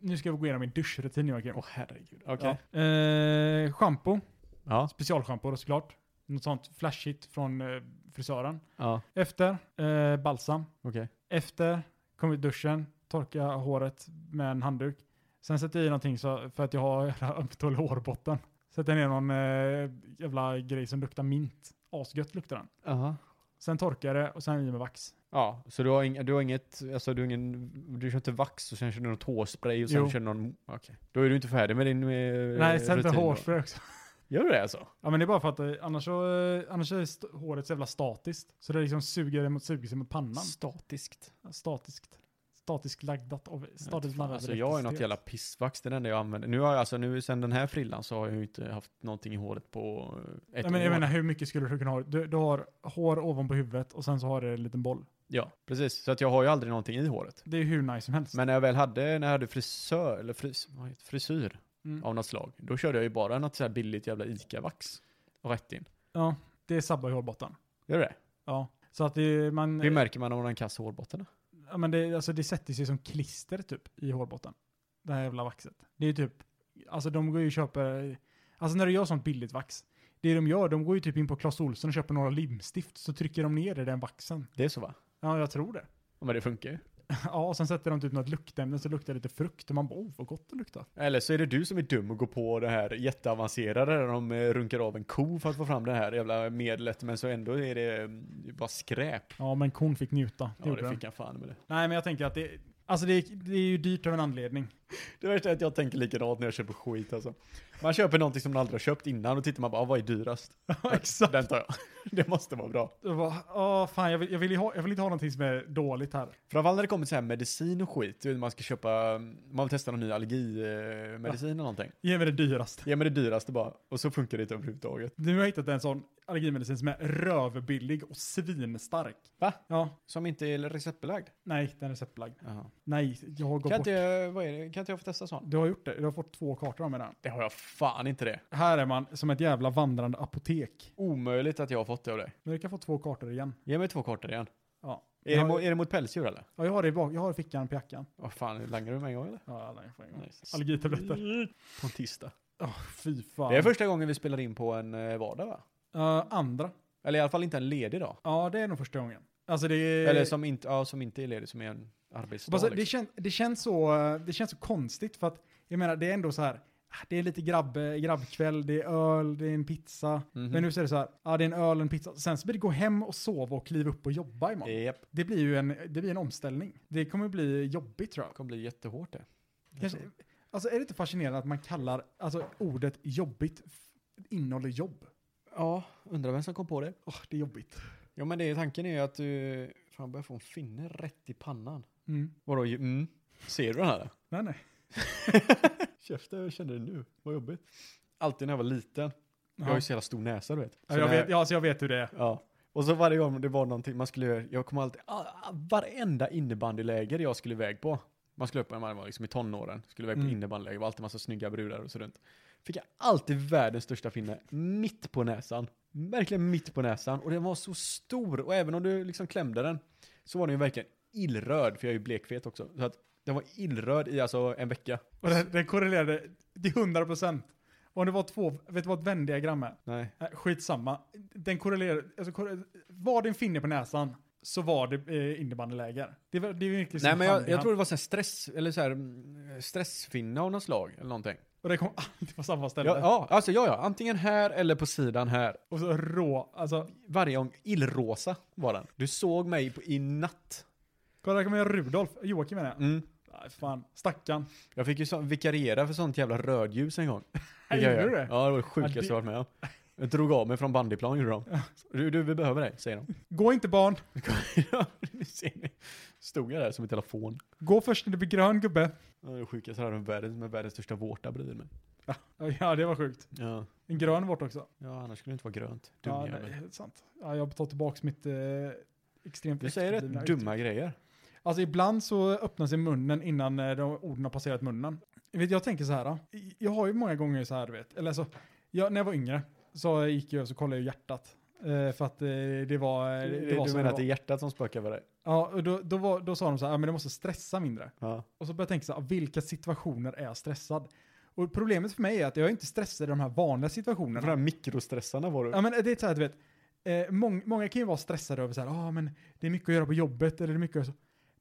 [SPEAKER 1] nu ska vi gå igenom min duschrutin Joakim.
[SPEAKER 3] Åh herregud. Okej.
[SPEAKER 1] Ja. Eh, shampoo,
[SPEAKER 3] Ja.
[SPEAKER 1] specialshampoo såklart. Något sånt flashigt från eh, frisören.
[SPEAKER 3] Ja.
[SPEAKER 1] Efter, eh, balsam.
[SPEAKER 3] Okej.
[SPEAKER 1] Efter, kommer duschen, torka håret med en handduk. Sen sätter jag i någonting så, för att jag har jävla ömtålig hårbotten. Sätter ner någon eh, jävla grej som luktar mint. Asgött luktar den.
[SPEAKER 3] Aha.
[SPEAKER 1] Sen torkar jag det och sen i med vax.
[SPEAKER 3] Ja, så du har, ing, du har inget, alltså du har ingen, du kör inte vax och sen kör du någon tårspray och sen
[SPEAKER 1] Jo.
[SPEAKER 3] kör du någon, okej. Då är du inte färdig med din eh,
[SPEAKER 1] Nej, sen inte
[SPEAKER 3] rutin då.
[SPEAKER 1] hårspray också.
[SPEAKER 3] Gör du det alltså?
[SPEAKER 1] Ja men det är bara för att eh, annars, så, eh, annars är st- håret så jävla statiskt. Så det liksom suger, mot, suger sig mot pannan.
[SPEAKER 3] Statiskt.
[SPEAKER 1] Statiskt. Statiskt lagdat av statiskt laddat
[SPEAKER 3] Alltså jag är något jävla pissvax, det är det enda jag använder. Nu har jag alltså, nu sen den här frillan så har jag ju inte haft någonting i håret på eh, ett
[SPEAKER 1] Nej, men jag
[SPEAKER 3] år.
[SPEAKER 1] menar hur mycket skulle du kunna ha? Du, du har hår ovanpå huvudet och sen så har du en liten boll.
[SPEAKER 3] Ja, precis. Så att jag har ju aldrig någonting i håret.
[SPEAKER 1] Det är hur nice som helst.
[SPEAKER 3] Men när jag väl hade, när jag hade frisör, eller fris, vad heter, det? frisyr
[SPEAKER 1] Mm.
[SPEAKER 3] av något slag, då körde jag ju bara något så här billigt jävla ICA-vax. Rätt in.
[SPEAKER 1] Ja, det sabbar ju hårbotten.
[SPEAKER 3] Gör du det?
[SPEAKER 1] Ja. Så att det, man,
[SPEAKER 3] Hur märker man om man har en kass hårbotten då?
[SPEAKER 1] ja, men det, alltså det sätter sig som klister typ i hårbotten. Det här jävla vaxet. Det är ju typ, alltså de går ju och köper, alltså när du gör sånt billigt vax, det de gör, de går ju typ in på Clas Ohlson och köper några limstift, så trycker de ner det i den vaxen.
[SPEAKER 3] Det är så va?
[SPEAKER 1] Ja, jag tror det.
[SPEAKER 3] Ja, men det funkar ju.
[SPEAKER 1] Ja, och sen sätter de typ något luktämne så luktar det lite frukt och man bara, oh vad gott det luktar.
[SPEAKER 3] Eller så är det du som är dum och går på det här jätteavancerade där de eh, runkar av en ko för att få fram det här jävla medlet men så ändå är det eh, bara skräp.
[SPEAKER 1] Ja, men kon fick njuta. Det
[SPEAKER 3] Ja,
[SPEAKER 1] gjorde
[SPEAKER 3] det
[SPEAKER 1] den.
[SPEAKER 3] fick jag fan med det.
[SPEAKER 1] Nej, men jag tänker att det, alltså det, det är ju dyrt av en anledning.
[SPEAKER 3] Det värsta är att jag tänker likadant när jag köper skit alltså. Man köper någonting som man aldrig har köpt innan och tittar man bara, ah, vad är dyrast?
[SPEAKER 1] Exakt.
[SPEAKER 3] Den tar jag. Det måste vara bra.
[SPEAKER 1] Jag bara, åh fan, jag vill, jag, vill ju ha, jag vill inte ha någonting som är dåligt här.
[SPEAKER 3] Framförallt när det kommer till så här medicin och skit, du vet, man ska köpa, man vill testa någon ny allergimedicin eller någonting.
[SPEAKER 1] Ge mig det dyraste.
[SPEAKER 3] Ja men det dyraste bara, och så funkar det inte överhuvudtaget.
[SPEAKER 1] Nu har jag hittat en sån allergimedicin som är rövbillig och svinstark.
[SPEAKER 3] Va?
[SPEAKER 1] Ja,
[SPEAKER 3] Som inte är receptbelagd.
[SPEAKER 1] nej, den är receptbelagd.
[SPEAKER 3] Jaha.
[SPEAKER 1] Nej, jag har gått
[SPEAKER 3] Kan
[SPEAKER 1] bort.
[SPEAKER 3] inte, jag- vad är det? kan inte jag få testa sån?
[SPEAKER 1] Du har gjort det, du har fått två kartor av mig där.
[SPEAKER 3] Det har jag fan inte det.
[SPEAKER 1] Här är man som ett jävla vandrande apotek.
[SPEAKER 3] Omöjligt att jag har fått det av dig.
[SPEAKER 1] Men du kan få två kartor igen.
[SPEAKER 3] Ge mig två kartor igen.
[SPEAKER 1] Ja.
[SPEAKER 3] Är, det,
[SPEAKER 1] jag,
[SPEAKER 3] mo- är det mot pälsdjur eller?
[SPEAKER 1] ja, jag har det i bak, jag har i fickan på jackan.
[SPEAKER 3] Vad fan, langar du med en gång eller?
[SPEAKER 1] Ja, nej, jag får en gång.
[SPEAKER 3] Nice.
[SPEAKER 1] Allergitabletter.
[SPEAKER 3] På en tisdag.
[SPEAKER 1] Åh, fy fan.
[SPEAKER 3] Det är första gången vi spelar in på en eh, vardag va?
[SPEAKER 1] Ja, andra.
[SPEAKER 3] Eller i alla fall inte en ledig dag.
[SPEAKER 1] Ja, det är nog första gången. Alltså det är...
[SPEAKER 3] Eller som inte, ja, som inte är ledig, som är en arbetsdag.
[SPEAKER 1] Bara så, det,
[SPEAKER 3] liksom.
[SPEAKER 1] kän, det, känns så, eh, det känns så konstigt för att jag menar det är ändå så här, ah, det är lite grabb, eh, grabbkväll, det är öl, det är en pizza.
[SPEAKER 3] Mhm.
[SPEAKER 1] Men nu så är det så här, ja det är en öl och en pizza. Sen så blir det gå hem och sova och kliva upp och jobba imorgon.
[SPEAKER 3] Japp,
[SPEAKER 1] Det blir ju en, det blir en omställning. Det kommer bli jobbigt tror
[SPEAKER 3] det
[SPEAKER 1] jag.
[SPEAKER 3] kommer bli jättehårt det.
[SPEAKER 1] Kanske, alltså är det inte fascinerande att man kallar alltså, ordet jobbigt f- innehåller jobb?
[SPEAKER 3] Ja, undrar vem som kom på det.
[SPEAKER 1] Åh, det är jobbigt.
[SPEAKER 3] Ja men det, är- tanken är ju att du, fan jag börjar få en finne rätt i pannan.
[SPEAKER 1] Mm.
[SPEAKER 3] Vadå, ju- mm. Ser du den här?
[SPEAKER 1] Nej, nej.
[SPEAKER 3] Käften, jag kände det nu. Vad jobbigt. Alltid när jag var liten. Jag har
[SPEAKER 1] Ja.
[SPEAKER 3] ju så jävla stor näsa, du vet.
[SPEAKER 1] Ja,
[SPEAKER 3] Så
[SPEAKER 1] jag
[SPEAKER 3] när-
[SPEAKER 1] vet, ja, så jag vet hur det är.
[SPEAKER 3] Ja. Och så varje gång det var någonting man skulle göra, jag kommer alltid, ah, ah, varenda innebandyläger jag skulle iväg på, man skulle upp när man var liksom i tonåren, skulle iväg
[SPEAKER 1] Mm.
[SPEAKER 3] på innebandyläger, var alltid massa snygga brudar och så runt. Fick jag alltid världens största finne, mitt på näsan. Verkligen mitt på näsan. Och den var så stor, och även om du liksom klämde den, så var den ju verkligen illröd, för jag är ju blekfet också. Så att den var illröd i alltså en vecka.
[SPEAKER 1] Och den, den korrelerade till 100%. Och om det var två, vet du vad ett vändiagram är?
[SPEAKER 3] Nej.
[SPEAKER 1] Nej, Äh, Skitsamma. Den korrelerade, alltså korre- var det en finne på näsan så var det eh, innebandyläger. Det, var- det är ju verkligen
[SPEAKER 3] Nej
[SPEAKER 1] som
[SPEAKER 3] men
[SPEAKER 1] hand
[SPEAKER 3] jag,
[SPEAKER 1] i
[SPEAKER 3] jag
[SPEAKER 1] hand.
[SPEAKER 3] tror det var sån här stress, eller så här mm, stressfinne av något slag, eller någonting.
[SPEAKER 1] Och det kom alltid på samma ställe.
[SPEAKER 3] Ja, ja, alltså ja, ja. Antingen här eller på sidan här.
[SPEAKER 1] Och så rå, alltså.
[SPEAKER 3] Varje gång. Illrosa var den. Du såg mig på, i natt.
[SPEAKER 1] Kolla, där kommer jag Rudolf. Joakim menar jag.
[SPEAKER 3] Mm.
[SPEAKER 1] Nej, fan. Stackarn.
[SPEAKER 3] Jag fick ju så, vikariera för sånt jävla rödljus en gång.
[SPEAKER 1] Nej,
[SPEAKER 3] Fick jag
[SPEAKER 1] gjorde
[SPEAKER 3] göra.
[SPEAKER 1] du det?
[SPEAKER 3] Ja, det var det sjukaste
[SPEAKER 1] Ja, det-
[SPEAKER 3] jag varit med om. Jag drog av mig från bandyplan gjorde de. Du, du, vi behöver dig, säger de.
[SPEAKER 1] Gå inte barn.
[SPEAKER 3] Ja, nu ser ni. Stod jag där som en telefon.
[SPEAKER 1] Gå först när det blir grön gubbe.
[SPEAKER 3] Ja, Det sjukaste jag hade om världens, med världens största vårta bredvid mig.
[SPEAKER 1] Ja, det var sjukt.
[SPEAKER 3] Ja.
[SPEAKER 1] En grön vart också.
[SPEAKER 3] ja, annars skulle det inte vara grönt. Dum
[SPEAKER 1] Ja,
[SPEAKER 3] jävel.
[SPEAKER 1] nej, helt sant. Ja, jag tar tillbaka mitt eh, extremt
[SPEAKER 3] Du säger
[SPEAKER 1] efterblivna
[SPEAKER 3] rätt
[SPEAKER 1] uttryck.
[SPEAKER 3] dumma grejer.
[SPEAKER 1] Alltså ibland så öppnar sig munnen innan eh, de orden har passerat munnen. Jag Vet, jag tänker så här, då. jag har ju många gånger så här, du vet, eller så, jag, när jag var yngre så gick jag och så kollade jag hjärtat. Eh, för att eh, det var... Det,
[SPEAKER 3] Du
[SPEAKER 1] var som
[SPEAKER 3] menar att det
[SPEAKER 1] det
[SPEAKER 3] är
[SPEAKER 1] var.
[SPEAKER 3] hjärtat som spökar för dig?
[SPEAKER 1] Ja, och då, då, var, då sa de så här, "Ja, men du måste stressa mindre.
[SPEAKER 3] Ja.
[SPEAKER 1] Och så började jag tänka så här, "Ah, vilka situationer är jag stressad? Och problemet för mig är att jag är inte stressad i de här vanliga situationerna.
[SPEAKER 3] De här mikrostressarna var du.
[SPEAKER 1] Ja men det är så här, du vet. Eh, mång, många kan ju vara stressade över så här, ah, men det är mycket att göra på jobbet eller det är mycket att göra så.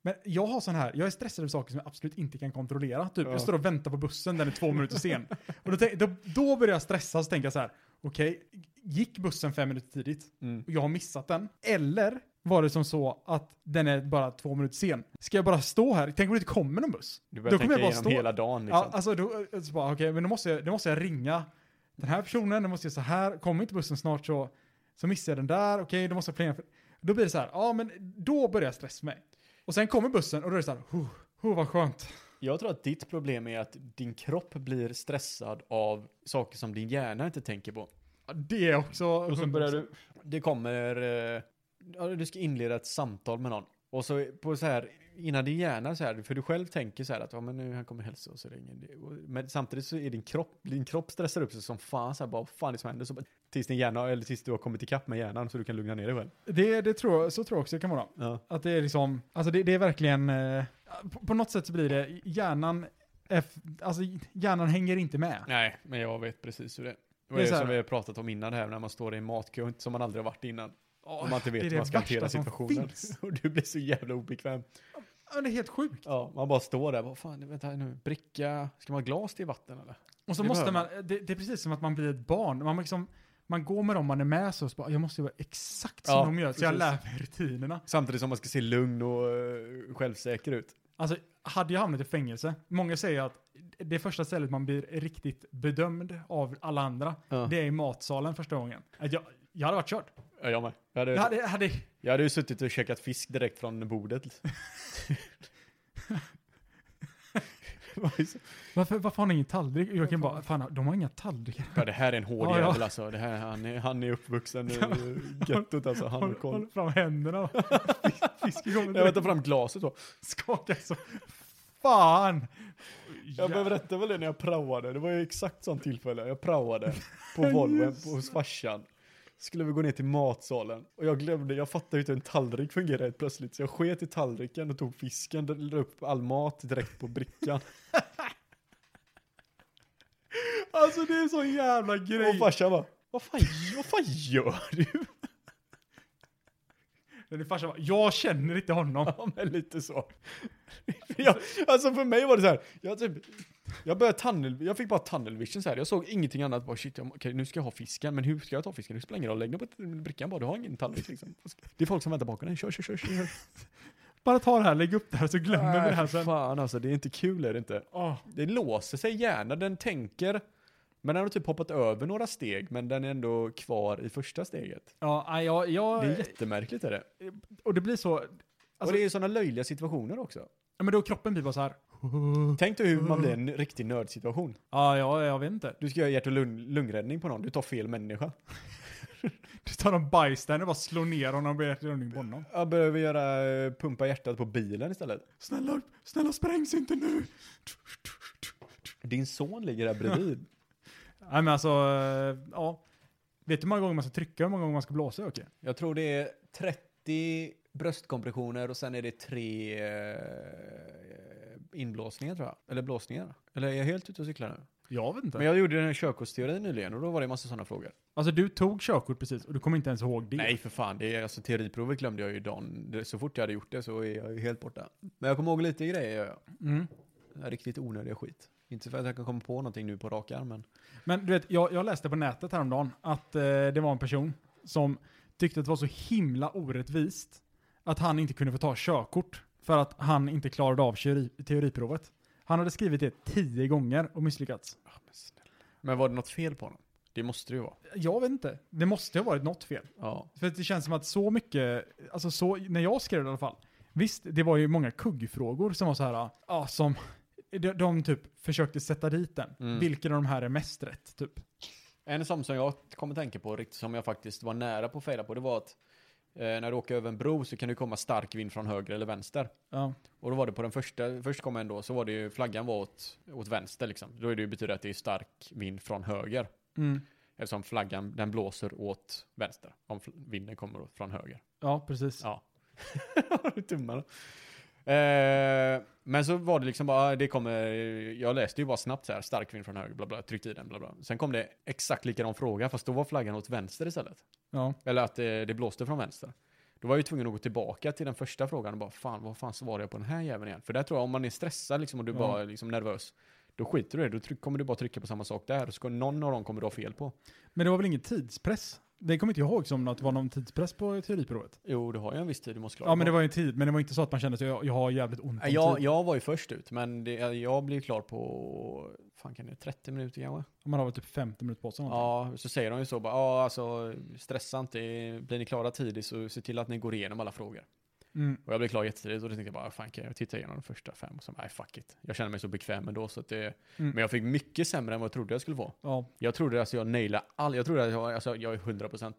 [SPEAKER 1] Men jag har sån här, jag är stressad över saker som jag absolut inte kan kontrollera. Typ,
[SPEAKER 3] Ja.
[SPEAKER 1] jag står och väntar på bussen, den är två minuter sen. Och då, tänk, då, då börjar jag stressa och tänka så här, okej, gick bussen fem minuter tidigt
[SPEAKER 3] Mm.
[SPEAKER 1] och jag har missat den? Eller var det som så att den är bara två minuter sen? Ska jag bara stå här? Tänk om det inte kommer någon buss?
[SPEAKER 3] Du
[SPEAKER 1] Då
[SPEAKER 3] börjar
[SPEAKER 1] kommer
[SPEAKER 3] tänka
[SPEAKER 1] jag bara
[SPEAKER 3] igenom
[SPEAKER 1] stå-
[SPEAKER 3] hela dagen liksom.
[SPEAKER 1] Ja, alltså då, eh, så bara, okej, men då måste, jag, då måste jag ringa den här personen, då måste jag så här, kommer inte bussen snart så, så missar jag den där, okej, då måste jag planera för... Då blir det så här, ja men då börjar jag stressa mig. Och sen kommer bussen och då är det så här, huh, huh, vad skönt.
[SPEAKER 3] Jag tror att ditt problem är att din kropp blir stressad av saker som din hjärna inte tänker på.
[SPEAKER 1] Ja, Det är också...
[SPEAKER 3] Och så börjar du... Det kommer... eh, ja, Du ska inleda ett samtal med någon. Och så på så här... Innan din hjärna så här, för du själv tänker så här att ja, men nu han kommer hälsa och så ringer det. Och- Men samtidigt så är din kropp, din kropp stressar upp sig som fan så här bara, vad fan är det som händer? Så bara, tills din hjärna, eller tills du har kommit ikapp med hjärnan så du kan lugna ner dig själv.
[SPEAKER 1] Det, det tror jag, så tror jag också det kan vara.
[SPEAKER 3] Ja.
[SPEAKER 1] Att det är liksom, alltså det, det är verkligen, eh, på, på något sätt så blir det, hjärnan, är f- alltså hjärnan hänger inte med.
[SPEAKER 3] Nej, men jag vet precis hur det är.
[SPEAKER 1] är
[SPEAKER 3] Det var det
[SPEAKER 1] så här-
[SPEAKER 3] som vi har pratat om innan det här när man står i en matkö och inte- som man aldrig har varit innan.
[SPEAKER 1] Åh,
[SPEAKER 3] Om man inte
[SPEAKER 1] det är
[SPEAKER 3] vet
[SPEAKER 1] det
[SPEAKER 3] hur man ska hantera
[SPEAKER 1] värsta som
[SPEAKER 3] situationen.
[SPEAKER 1] finns.
[SPEAKER 3] Och du blir så jävla obekväm.
[SPEAKER 1] Ja, men det är helt sjukt.
[SPEAKER 3] Ja, man bara står där. Vad fan, vänta här nu. Bricka. Ska man ha glas till vatten eller?
[SPEAKER 1] Och så
[SPEAKER 3] Det
[SPEAKER 1] måste man,
[SPEAKER 3] behöver
[SPEAKER 1] det, det är precis som att man blir ett barn. Man, liksom, man går med dem man är med sig och så bara, jag måste vara exakt som
[SPEAKER 3] Ja,
[SPEAKER 1] de gör, så jag
[SPEAKER 3] precis.
[SPEAKER 1] lär mig rutinerna.
[SPEAKER 3] Samtidigt som man ska se lugn och eh, självsäker ut.
[SPEAKER 1] Alltså, hade jag hamnat i fängelse, många säger att det första stället man blir riktigt bedömd av alla andra,
[SPEAKER 3] Ja. Eh.
[SPEAKER 1] det är i matsalen första gången. Att jag, jag hade varit körd.
[SPEAKER 3] Ja, jag med. Jag hade,
[SPEAKER 1] Jag hade, jag hade,
[SPEAKER 3] jag hade ju suttit och käkat fisk direkt från bordet. Det var ju så-
[SPEAKER 1] varför, varför har ni ingen tallrik? Och Jag kan bara, fan, de har inga tallrikar.
[SPEAKER 3] ja, det här är en hård
[SPEAKER 1] Ja, ja.
[SPEAKER 3] jävel alltså. Det här, han, är, han är uppvuxen i gettot alltså. Han har
[SPEAKER 1] Håll,
[SPEAKER 3] koll.
[SPEAKER 1] håll fram händerna. Fisk- Fisken kommer
[SPEAKER 3] Jag tar
[SPEAKER 1] direkt
[SPEAKER 3] fram glaset då.
[SPEAKER 1] skaka så. Fan!
[SPEAKER 3] Jag berättade väl det när jag praoade, det var ju exakt sånt tillfälle. Jag praoade på Volvo
[SPEAKER 1] Just
[SPEAKER 3] på- hos farsan. Skulle vi gå ner till matsalen och jag glömde, jag fattade ju inte hur en tallrik fungerar helt plötsligt. Så jag sket i tallriken och tog fisken, la upp all mat direkt på brickan.
[SPEAKER 1] Alltså det är så jävla
[SPEAKER 3] Och
[SPEAKER 1] grej.
[SPEAKER 3] farsan bara, vad fan, vad fan gör du?
[SPEAKER 1] Eller farsan bara, jag känner inte honom.
[SPEAKER 3] Ja men lite så. Jag, alltså för mig var det så här, jag typ, jag började tunnel, jag fick bara tunnelvision så här. Jag såg ingenting annat, bara shit, jag, må- okej, nu ska jag ha fisken, men hur ska jag ta fisken? Det spelar ingen roll, lägg den på brickan bara, du har ingen tallrik liksom. Det är folk som väntar bakom dig, kör, kör, kör, kör.
[SPEAKER 1] Bara ta det här, lägg upp det här så glömmer vi det här
[SPEAKER 3] Äh,
[SPEAKER 1] sen.
[SPEAKER 3] fan alltså, det är inte kul är det inte.
[SPEAKER 1] Åh,
[SPEAKER 3] Det låser sig gärna, den tänker, men den har typ hoppat över några steg, men den är ändå kvar i första steget.
[SPEAKER 1] Ja, nej, Alltså- jag,
[SPEAKER 3] Det
[SPEAKER 1] jag,
[SPEAKER 3] är jättemärkligt är det.
[SPEAKER 1] och det blir så,
[SPEAKER 3] och det är sådana löjliga situationer också.
[SPEAKER 1] ja, men då kroppen blir bara så här.
[SPEAKER 3] Tänk dig
[SPEAKER 1] Mm.
[SPEAKER 3] hur man blir i en riktig nördsituation.
[SPEAKER 1] Ja, ja, jag vet inte.
[SPEAKER 3] Du ska göra hjärt och lung, lungräddning på någon, du tar fel människa.
[SPEAKER 1] Du tar en bystander och bara slår ner honom och blir hjärtrullning på honom.
[SPEAKER 3] Jag behöver göra eh, pumpa hjärtat på bilen istället.
[SPEAKER 1] Snälla, snälla sprängs inte nu!
[SPEAKER 3] Din son ligger där bredvid.
[SPEAKER 1] Nej men alltså, eh, ja. Vet du hur många gånger man ska trycka och hur många gånger man ska blåsa Jocke?
[SPEAKER 3] Jag tror det är 30 bröstkompressioner och sen är det tre eh, inblåsningar tror jag. Eller blåsningar. Eller är jag helt ute och cyklar nu?
[SPEAKER 1] Jag vet inte.
[SPEAKER 3] Men jag gjorde den här körkortsteorin nyligen och då var det en massa sådana frågor.
[SPEAKER 1] Alltså du tog körkort precis och du kommer inte ens ihåg det.
[SPEAKER 3] Nej för fan, det är, alltså, teoriprovet glömde jag ju dagen. Det- Så fort jag hade gjort det så är jag ju helt borta. Men jag kommer ihåg lite grejer. gör jag.
[SPEAKER 1] Mm.
[SPEAKER 3] Riktigt onödiga skit. Inte för att jag kan komma på någonting nu på rak arm men.
[SPEAKER 1] Men du vet, jag, jag läste på nätet häromdagen att eh, det var en person som tyckte att det var så himla orättvist att han inte kunde få ta körkort för att han inte klarade av teori, teoriprovet. Han hade skrivit det tio gånger och misslyckats.
[SPEAKER 3] Men var det något fel på honom? Det måste det ju vara.
[SPEAKER 1] Jag vet inte. Det måste ha varit något fel.
[SPEAKER 3] Ja.
[SPEAKER 1] För att det känns som att så mycket, alltså så, när jag skrev det i alla fall, visst, det var ju många kuggfrågor som var så här, ja, som, de, de typ försökte sätta dit den.
[SPEAKER 3] Mm.
[SPEAKER 1] Vilken av de här är mest rätt, typ?
[SPEAKER 3] En som, som jag kommer tänka på, riktigt som jag faktiskt var nära på att fejla på, det var att eh, när du åker över en bro så kan det komma stark vind från höger eller vänster.
[SPEAKER 1] Ja.
[SPEAKER 3] Och då var det på den första, först kom en då, så var det ju, flaggan var åt, åt vänster liksom. Då är det ju betyder att det är stark vind från höger.
[SPEAKER 1] Mm.
[SPEAKER 3] Eftersom flaggan, den blåser åt vänster. Om fl- vinden kommer åt- från höger.
[SPEAKER 1] Ja, precis.
[SPEAKER 3] Ja. Tummarna. Eh, men så var det liksom bara, det kommer, jag läste ju bara snabbt så här, stark vind från höger, bla bla, tryckte i den, bla bla. Sen kom det exakt likadan fråga, fast då var flaggan åt vänster istället.
[SPEAKER 1] Ja.
[SPEAKER 3] Eller att eh, det, det blåste från vänster. Då var jag ju tvungen att gå tillbaka till den första frågan och bara fan, vad fan svarade jag på den här jäveln igen? För där tror jag om man är stressad liksom och du
[SPEAKER 1] Ja.
[SPEAKER 3] bara är liksom nervös, då skiter du i det. Då tryck, kommer du bara trycka på samma sak där och så kommer- någon av dem kommer du ha fel på.
[SPEAKER 1] Men det var väl ingen tidspress? Det kommer inte jag ihåg som att det var någon tidspress på teoriprovet.
[SPEAKER 3] Jo, du har ju en viss tid du måste klara
[SPEAKER 1] Ja, men
[SPEAKER 3] på.
[SPEAKER 1] det var ju en tid, men det var inte så att man kände att jag, jag har jävligt ont om
[SPEAKER 3] Nej, jag,
[SPEAKER 1] tid.
[SPEAKER 3] jag var ju först ut, men det, jag blev klar på fan kan det, 30 minuter kanske?
[SPEAKER 1] Man har väl typ 50 minuter på sig. någonting.
[SPEAKER 3] Ja, så säger de ju så bara, ja alltså stressa inte, blir ni klara tidigt så se till att ni går igenom alla frågor.
[SPEAKER 1] Mm.
[SPEAKER 3] Och jag blev klar jättetidigt och då tänkte jag bara, fan kan jag titta igenom de första fem? Och så, nej fuck it. Jag kände mig så bekväm ändå så att det, men jag fick mycket sämre än vad jag trodde jag skulle få.
[SPEAKER 1] Ja.
[SPEAKER 3] Jag trodde alltså jag nailade all, jag trodde att jag, alltså, jag är 100%.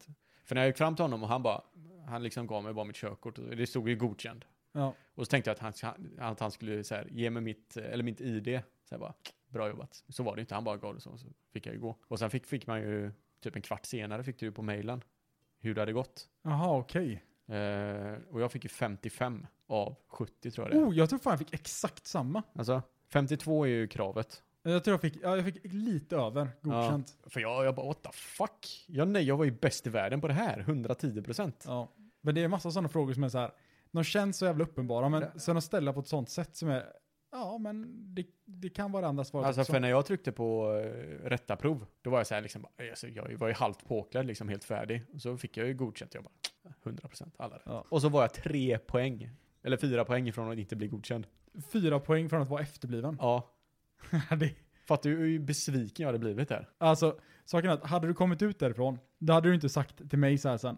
[SPEAKER 3] För när jag gick fram till honom och han bara, han liksom gav mig bara mitt körkort och det stod ju godkänd.
[SPEAKER 1] Ja.
[SPEAKER 3] Och så tänkte jag att han, att han skulle så här, ge mig mitt, eh, eller mitt ID. Så jag bara, bra jobbat. Så var det ju inte, han bara gav det så, så fick jag ju gå. Och sen fick, fick man ju, typ en kvart senare fick du ju på mejlen hur det hade gått.
[SPEAKER 1] Jaha, okej.
[SPEAKER 3] Eh, och jag fick ju 55 av 70 tror jag det är.
[SPEAKER 1] Oh, jag tror fan jag fick exakt samma.
[SPEAKER 3] Alltså, 52 är ju kravet.
[SPEAKER 1] Jag tror jag fick, ja, jag fick lite över godkänt.
[SPEAKER 3] För jag, jag bara, what the fuck? Jag, nej, jag var ju bäst i världen på det här, 110%.
[SPEAKER 1] Ja. Men det är massa sådana frågor som är så här. de känns så jävla uppenbara, men sen att ställa på ett sånt sätt som är, ja men det, det kan vara typ det andra svaret
[SPEAKER 3] Alltså
[SPEAKER 1] också.
[SPEAKER 3] för när jag tryckte på eh, rätta prov, då var jag så här liksom, bara, alltså, jag var ju halvt påklädd, liksom helt färdig. Och så fick jag ju godkänt, jag bara 100% alla rätt.
[SPEAKER 1] Ja.
[SPEAKER 3] Och så var jag tre poäng, eller fyra poäng ifrån att inte bli godkänd.
[SPEAKER 1] Fyra poäng från att vara efterbliven.
[SPEAKER 3] Ja,
[SPEAKER 1] det,
[SPEAKER 3] fattar du hur besviken jag hade blivit där?
[SPEAKER 1] Alltså, saken är att hade du kommit ut därifrån, då hade du inte sagt till mig så här sen.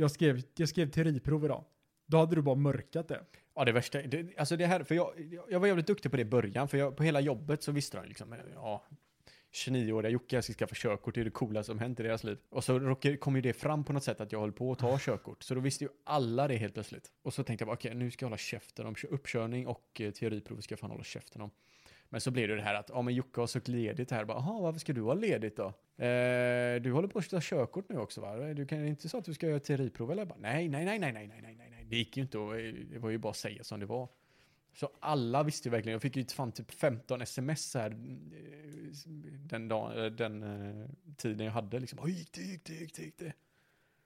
[SPEAKER 1] Jag skrev, jag skrev teoriprov idag. Då hade du bara mörkat det.
[SPEAKER 3] Ja, det värsta, det, alltså det här, för jag, jag var jävligt duktig på det i början, för jag, på hela jobbet så visste de liksom, ja, 29-åriga Jocke ska skaffa körkort, det är det coolaste som hänt i deras liv. Och så råkade- kom ju det fram på något sätt att jag höll på att ta körkort, så då visste ju alla det helt plötsligt. Och så tänkte jag bara, okej, nu ska jag hålla käften om kö- uppkörning och eh, teoriprov ska jag fan hålla käften om. Men så blev det det här att, ja men Jocke har sökt ledigt här, bara, aha, varför ska du ha ledigt då? Eh, du håller på att ta körkort nu också va? Du kan inte så att du ska göra teoriprov eller? Jag Bara, nej, nej, nej, nej, nej, nej, nej, nej, nej, det gick ju inte och eh, det var ju bara att säga som det var. Så alla visste ju verkligen, jag fick ju fan typ 15 sms så här eh, den, dag, eh, den eh, tiden jag hade liksom. Oj, gick det, gick det, gick det, gick det?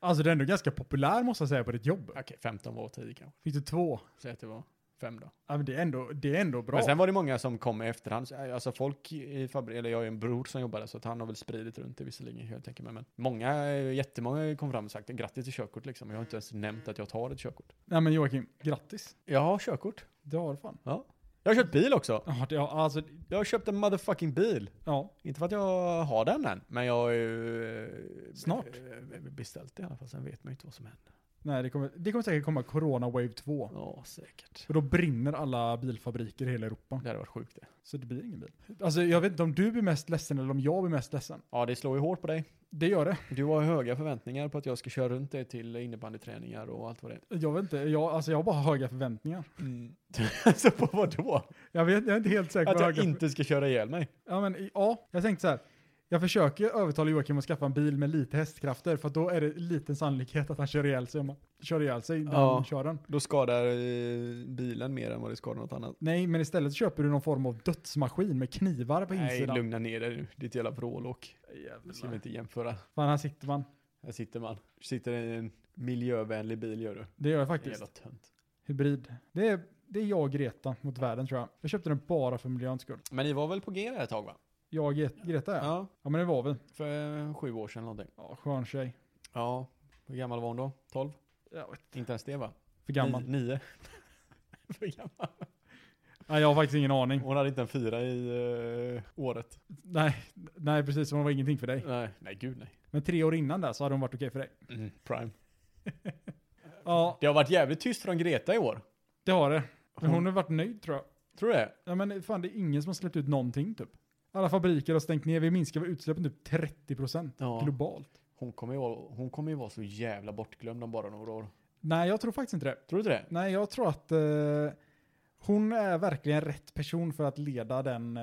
[SPEAKER 1] Alltså du är ändå ganska populär måste jag säga på ditt jobb.
[SPEAKER 3] Okej, 15 var 10 kanske.
[SPEAKER 1] Fick du två?
[SPEAKER 3] Säg att det var fem då.
[SPEAKER 1] Ja, men det, är ändå, det är ändå bra.
[SPEAKER 3] Men sen var det många som kom i efterhand. Så, eh, Alltså folk i fabriken, eller jag har ju en bror som jobbar där så att han har väl spridit runt det visserligen. Jag tänker mig. Men många, eh, jättemånga kom fram och sagt grattis till körkort liksom. Jag har inte ens nämnt att jag tar ett körkort.
[SPEAKER 1] Nej men Joakim, grattis.
[SPEAKER 3] Jag har körkort.
[SPEAKER 1] Det har du fan.
[SPEAKER 3] Jag har köpt bil också.
[SPEAKER 1] Ja, det, ja, alltså,
[SPEAKER 3] Jag har köpt en motherfucking bil.
[SPEAKER 1] ja.
[SPEAKER 3] Inte för att jag har den än, men jag har ju... eh,
[SPEAKER 1] Snart.
[SPEAKER 3] eh, Beställt det i alla fall, sen vet man ju inte vad som händer.
[SPEAKER 1] Nej, det kommer, det kommer säkert komma Corona Wave 2.
[SPEAKER 3] Ja, säkert.
[SPEAKER 1] För då brinner alla bilfabriker i hela Europa.
[SPEAKER 3] Det hade varit sjukt det.
[SPEAKER 1] Så det blir ingen bil. Alltså jag vet inte om du blir mest ledsen eller om jag blir mest ledsen.
[SPEAKER 3] Ja, det slår ju hårt på dig.
[SPEAKER 1] Det gör det.
[SPEAKER 3] Du har höga förväntningar på att jag ska köra runt dig till innebandyträningar och allt vad det är.
[SPEAKER 1] Jag vet inte, jag, alltså jag har bara höga förväntningar.
[SPEAKER 3] alltså på vad då?
[SPEAKER 1] Jag vet, jag är inte helt säker
[SPEAKER 3] Att
[SPEAKER 1] på
[SPEAKER 3] jag
[SPEAKER 1] höga
[SPEAKER 3] inte ska köra ihjäl mig?
[SPEAKER 1] Ja, men, ja, jag tänkte så här. Jag försöker övertala Joakim att skaffa en bil med lite hästkrafter för att då är det liten sannolikhet att han kör ihjäl sig om man kör ihjäl sig när
[SPEAKER 3] Ja.
[SPEAKER 1] han kör den.
[SPEAKER 3] Då skadar eh, bilen mer än vad det skadar något annat.
[SPEAKER 1] Nej, men istället köper du någon form av dödsmaskin med knivar på
[SPEAKER 3] Nej,
[SPEAKER 1] insidan.
[SPEAKER 3] lugna ner dig nu. Ditt jävla vrålåk. Det ska vi
[SPEAKER 1] Jävlar.
[SPEAKER 3] inte jämföra.
[SPEAKER 1] Fan, här sitter man.
[SPEAKER 3] Här sitter man. Sitter i en miljövänlig bil gör du.
[SPEAKER 1] Det gör jag
[SPEAKER 3] Jävla
[SPEAKER 1] faktiskt.
[SPEAKER 3] tönt.
[SPEAKER 1] Hybrid. Det är, det är jag och Greta mot världen tror jag. Jag köpte den bara för miljöns skull.
[SPEAKER 3] Men ni var väl på G där ett tag va?
[SPEAKER 1] Jag och Gre- Greta ja. Ja, men det var vi.
[SPEAKER 3] För eh, sju år sedan någonting.
[SPEAKER 1] Ja, skön tjej.
[SPEAKER 3] Ja. Hur gammal var hon då? 12?
[SPEAKER 1] Jag vet,
[SPEAKER 3] Inte ens det va?
[SPEAKER 1] för gammal.
[SPEAKER 3] Ni- Nio. För gammal.
[SPEAKER 1] Nej, jag har faktiskt ingen aning.
[SPEAKER 3] Hon hade inte en fyra i eh, året.
[SPEAKER 1] Nej, nej precis. Hon var ingenting för dig.
[SPEAKER 3] Nej. Nej, gud nej. Mm.
[SPEAKER 1] Men tre år innan där så hade hon varit okej för dig.
[SPEAKER 3] Prime.
[SPEAKER 1] Ja,
[SPEAKER 3] Det har varit jävligt tyst från Greta i år.
[SPEAKER 1] det har det. Men
[SPEAKER 3] Hon-
[SPEAKER 1] hon har varit nöjd tror jag.
[SPEAKER 3] Tror du det?
[SPEAKER 1] Ja men fan det är ingen som har släppt ut någonting typ. Alla fabriker har stängt ner, vi minskar våra utsläpp med typ 30%
[SPEAKER 3] Ja.
[SPEAKER 1] globalt.
[SPEAKER 3] Hon kommer, ju vara, hon kommer ju vara så jävla bortglömd om bara några år.
[SPEAKER 1] Nej jag tror faktiskt inte det.
[SPEAKER 3] Tror du inte det?
[SPEAKER 1] Nej jag tror att eh, hon är verkligen rätt person för att leda den, eh,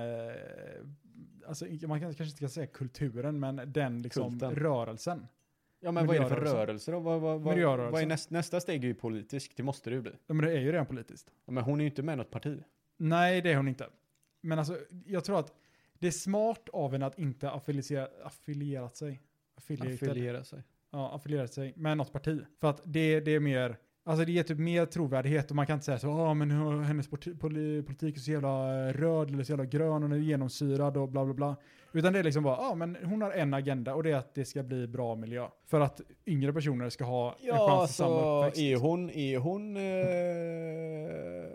[SPEAKER 1] alltså man kan, kanske inte ska säga kulturen men den liksom
[SPEAKER 3] Kulten.
[SPEAKER 1] rörelsen.
[SPEAKER 3] Ja men vad är det för
[SPEAKER 1] Miljörörelsen.
[SPEAKER 3] rörelse då? Vad, vad, vad,
[SPEAKER 1] Miljörörelsen.
[SPEAKER 3] vad är näst, nästa steg? är ju politisk, det måste det ju bli.
[SPEAKER 1] Ja, men det är ju redan politiskt.
[SPEAKER 3] Ja, Men hon är ju inte med i något parti.
[SPEAKER 1] Nej det är hon inte. Men alltså jag tror att det är smart av henne att inte affiliera, affilierat sig. Affiliated.
[SPEAKER 3] sig.
[SPEAKER 1] Ja, affilierat sig med något parti. För att det, det är mer, alltså det ger typ mer trovärdighet och man kan inte säga så, ja men hur- hennes politi- poli- politik är så jävla eh, röd eller så jävla grön och den är genomsyrad och bla bla bla. Utan det är liksom bara, ja men hon har en agenda och det är att det ska bli bra miljö. För att yngre personer ska ha en
[SPEAKER 3] Ja,
[SPEAKER 1] chans till
[SPEAKER 3] alltså
[SPEAKER 1] samma uppväxt.
[SPEAKER 3] är hon, är hon eh,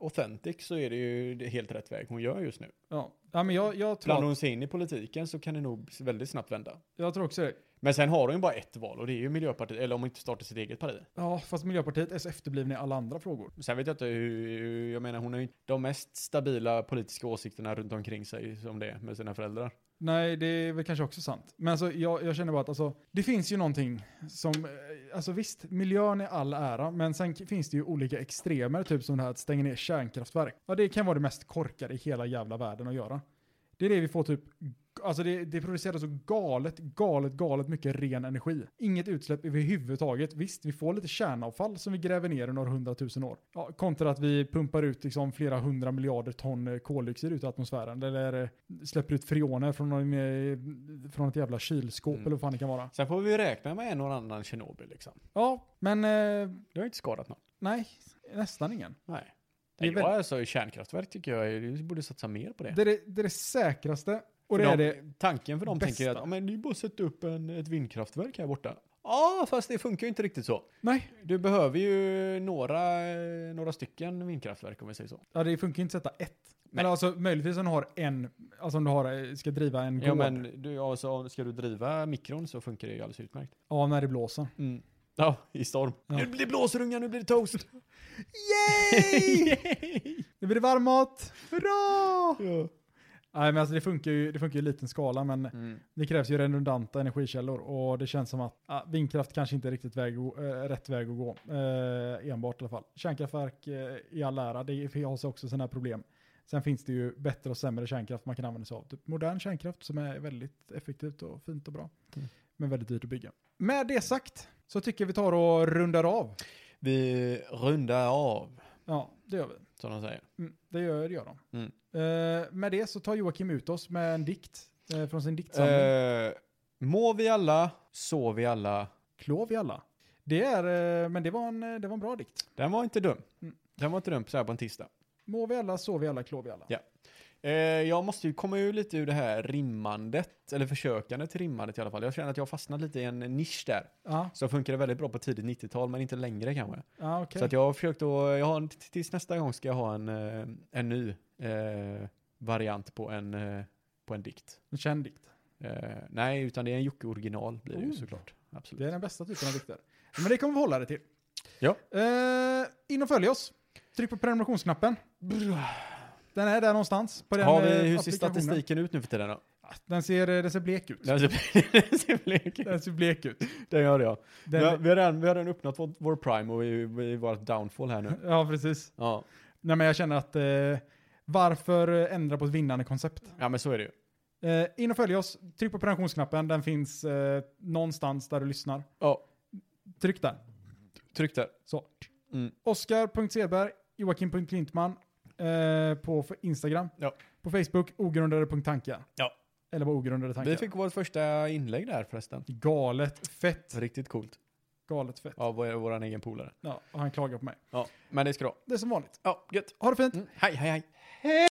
[SPEAKER 3] authentic så är det ju det helt rätt väg hon gör just nu.
[SPEAKER 1] Ja. ja, men jag, jag, tror
[SPEAKER 3] Blandar
[SPEAKER 1] att,
[SPEAKER 3] hon sig in i politiken så kan det nog väldigt snabbt vända.
[SPEAKER 1] jag tror också det.
[SPEAKER 3] Men sen har hon ju bara ett val och det är ju Miljöpartiet, eller om hon inte startar sitt eget parti.
[SPEAKER 1] Ja, fast Miljöpartiet är så efterblivna i alla andra frågor.
[SPEAKER 3] Sen vet jag inte hur, hur- jag menar hon har ju inte de mest stabila politiska åsikterna runt omkring sig som det är med sina föräldrar.
[SPEAKER 1] Nej, det är väl kanske också sant. Men alltså, jag, jag känner bara att alltså, det finns ju någonting som, eh, alltså visst, miljön är all ära, men sen k- finns det ju olika extremer, typ som det här att stänga ner kärnkraftverk. Ja, det kan vara det mest korkade i hela jävla världen att göra. Det är det vi får typ, alltså det, det produceras så galet, galet, galet mycket ren energi. Inget utsläpp överhuvudtaget. Visst, vi får lite kärnavfall som vi gräver ner i några hundratusen år. Ja, kontra att vi pumpar ut liksom flera hundra miljarder ton eh, koldioxid ut i atmosfären. Eller eh, släpper ut freoner från, någon, eh, från ett jävla kylskåp
[SPEAKER 3] Mm.
[SPEAKER 1] eller vad fan det kan vara.
[SPEAKER 3] Sen får vi ju räkna med en och annan Tjernobyl liksom.
[SPEAKER 1] Ja, men eh,
[SPEAKER 3] Det har ju inte skadat någon.
[SPEAKER 1] nej, nästan ingen.
[SPEAKER 3] Nej.
[SPEAKER 1] Det är
[SPEAKER 3] jag
[SPEAKER 1] väl-
[SPEAKER 3] alltså kärnkraftverk tycker jag, är- vi borde satsa mer på det.
[SPEAKER 1] Det är det, det, är det säkraste och det
[SPEAKER 3] För
[SPEAKER 1] är
[SPEAKER 3] de,
[SPEAKER 1] det
[SPEAKER 3] tanken för dem
[SPEAKER 1] bästa.
[SPEAKER 3] tänker ju att "Ja, men det är bara att sätta upp en, ett vindkraftverk här borta. Ja, fast det funkar ju inte riktigt så.
[SPEAKER 1] Nej,
[SPEAKER 3] Du behöver ju några, eh, några stycken vindkraftverk om vi säger så.
[SPEAKER 1] ja, det funkar ju inte att sätta ett.
[SPEAKER 3] Nej.
[SPEAKER 1] Eller alltså möjligtvis om du har en, alltså om du har, eh, ska driva en gård.
[SPEAKER 3] Ja, men du, ja, så ska du driva mikron så funkar det ju alldeles utmärkt.
[SPEAKER 1] Ja, när det blåser.
[SPEAKER 3] Ja, i storm.
[SPEAKER 1] Mm. Ja.
[SPEAKER 3] Nu blir det blåsrunga, nu blir det toast.
[SPEAKER 1] Nu blir det varm mat! Hurra!
[SPEAKER 3] ja.
[SPEAKER 1] Nej, men alltså det funkar ju, det funkar ju i liten skala, men
[SPEAKER 3] mm.
[SPEAKER 1] det krävs ju redundanta energikällor och det känns som att ja, vindkraft kanske inte är riktigt väg, att gå- eh, rätt väg att gå. Eh, enbart i alla fall. Kärnkraftverk eh, i all ära, det har också sina problem. Sen finns det ju bättre och sämre kärnkraft man kan använda sig av. Typ modern kärnkraft som är väldigt effektivt och fint och bra.
[SPEAKER 3] Mm.
[SPEAKER 1] Men väldigt dyrt att bygga. Med det sagt så tycker jag vi tar och rundar av.
[SPEAKER 3] Vi rundar av,
[SPEAKER 1] Ja, det gör vi.
[SPEAKER 3] som de säger.
[SPEAKER 1] Mm, det gör, det gör de.
[SPEAKER 3] Mm.
[SPEAKER 1] Eh, med det så tar Joakim ut oss med en dikt eh, från sin diktsamling.
[SPEAKER 3] Eh, må vi alla, så vi alla.
[SPEAKER 1] Klov i alla. Det är, eh, men det var, en, eh, det var en bra dikt.
[SPEAKER 3] Den var inte dum.
[SPEAKER 1] Mm.
[SPEAKER 3] Den var inte dum så här på en tisdag.
[SPEAKER 1] Må vi alla, sov vi alla, klov vi alla.
[SPEAKER 3] Ja. Eh, jag måste ju komma ur lite ur det här rimmandet, eller försökandet till rimmandet i alla fall. Jag känner att jag har fastnat lite i en nisch där.
[SPEAKER 1] Ja,
[SPEAKER 3] Så funkar det väldigt bra på tidigt 90-tal, men inte längre kanske.
[SPEAKER 1] ja okej.
[SPEAKER 3] Så att jag har försökt att, jag har, en- t- tills nästa gång ska jag ha en, eh, en ny eh, variant på en, eh, på en dikt.
[SPEAKER 1] En känd dikt.
[SPEAKER 3] Eh, nej, utan det är en Jocke-original blir det ju
[SPEAKER 1] Oh.
[SPEAKER 3] såklart. Absolut.
[SPEAKER 1] Det är den bästa typen av dikter. Men det kommer vi hålla det till.
[SPEAKER 3] Ja.
[SPEAKER 1] Eh, in och följ oss. Tryck på prenumerationsknappen. Den är där någonstans. På den, eh,
[SPEAKER 3] Har vi, hur ser
[SPEAKER 1] applikationen.
[SPEAKER 3] statistiken ut nu för tiden då?
[SPEAKER 1] Den ser, eh, den ser blek ut.
[SPEAKER 3] Den ser blek ut.
[SPEAKER 1] Den ser blek ut.
[SPEAKER 3] Den gör jag.
[SPEAKER 1] Den,
[SPEAKER 3] vi, har,
[SPEAKER 1] ja.
[SPEAKER 3] vi, har redan, vi har redan uppnått vår, vår prime och vi, vi är i vårt downfall här nu.
[SPEAKER 1] precis.
[SPEAKER 3] Ja.
[SPEAKER 1] Nej, men jag känner att eh, varför ändra på ett vinnande koncept?
[SPEAKER 3] ja, men så är det ju.
[SPEAKER 1] Eh, in och följ oss. Tryck på prenumerationsknappen. Den finns eh, någonstans där du lyssnar.
[SPEAKER 3] Ja,
[SPEAKER 1] Tryck där.
[SPEAKER 3] tryck där.
[SPEAKER 1] Så.
[SPEAKER 3] Mm.
[SPEAKER 1] Oskar.Sedberg, Joakim.Klintman eh, på f- Instagram.
[SPEAKER 3] Ja.
[SPEAKER 1] På Facebook, ogrundade.tankar.
[SPEAKER 3] Ja.
[SPEAKER 1] Eller bara ogrundade tankar.
[SPEAKER 3] Vi fick vårt första inlägg där förresten.
[SPEAKER 1] Galet fett.
[SPEAKER 3] Riktigt coolt.
[SPEAKER 1] Galet fett.
[SPEAKER 3] Av vår, vår egen polare.
[SPEAKER 1] Ja, och han klagar på mig.
[SPEAKER 3] Ja, men det ska du ha.
[SPEAKER 1] Det är som vanligt.
[SPEAKER 3] Ja, gött.
[SPEAKER 1] Ha det fint.
[SPEAKER 3] Mm. Hej, hej, hej.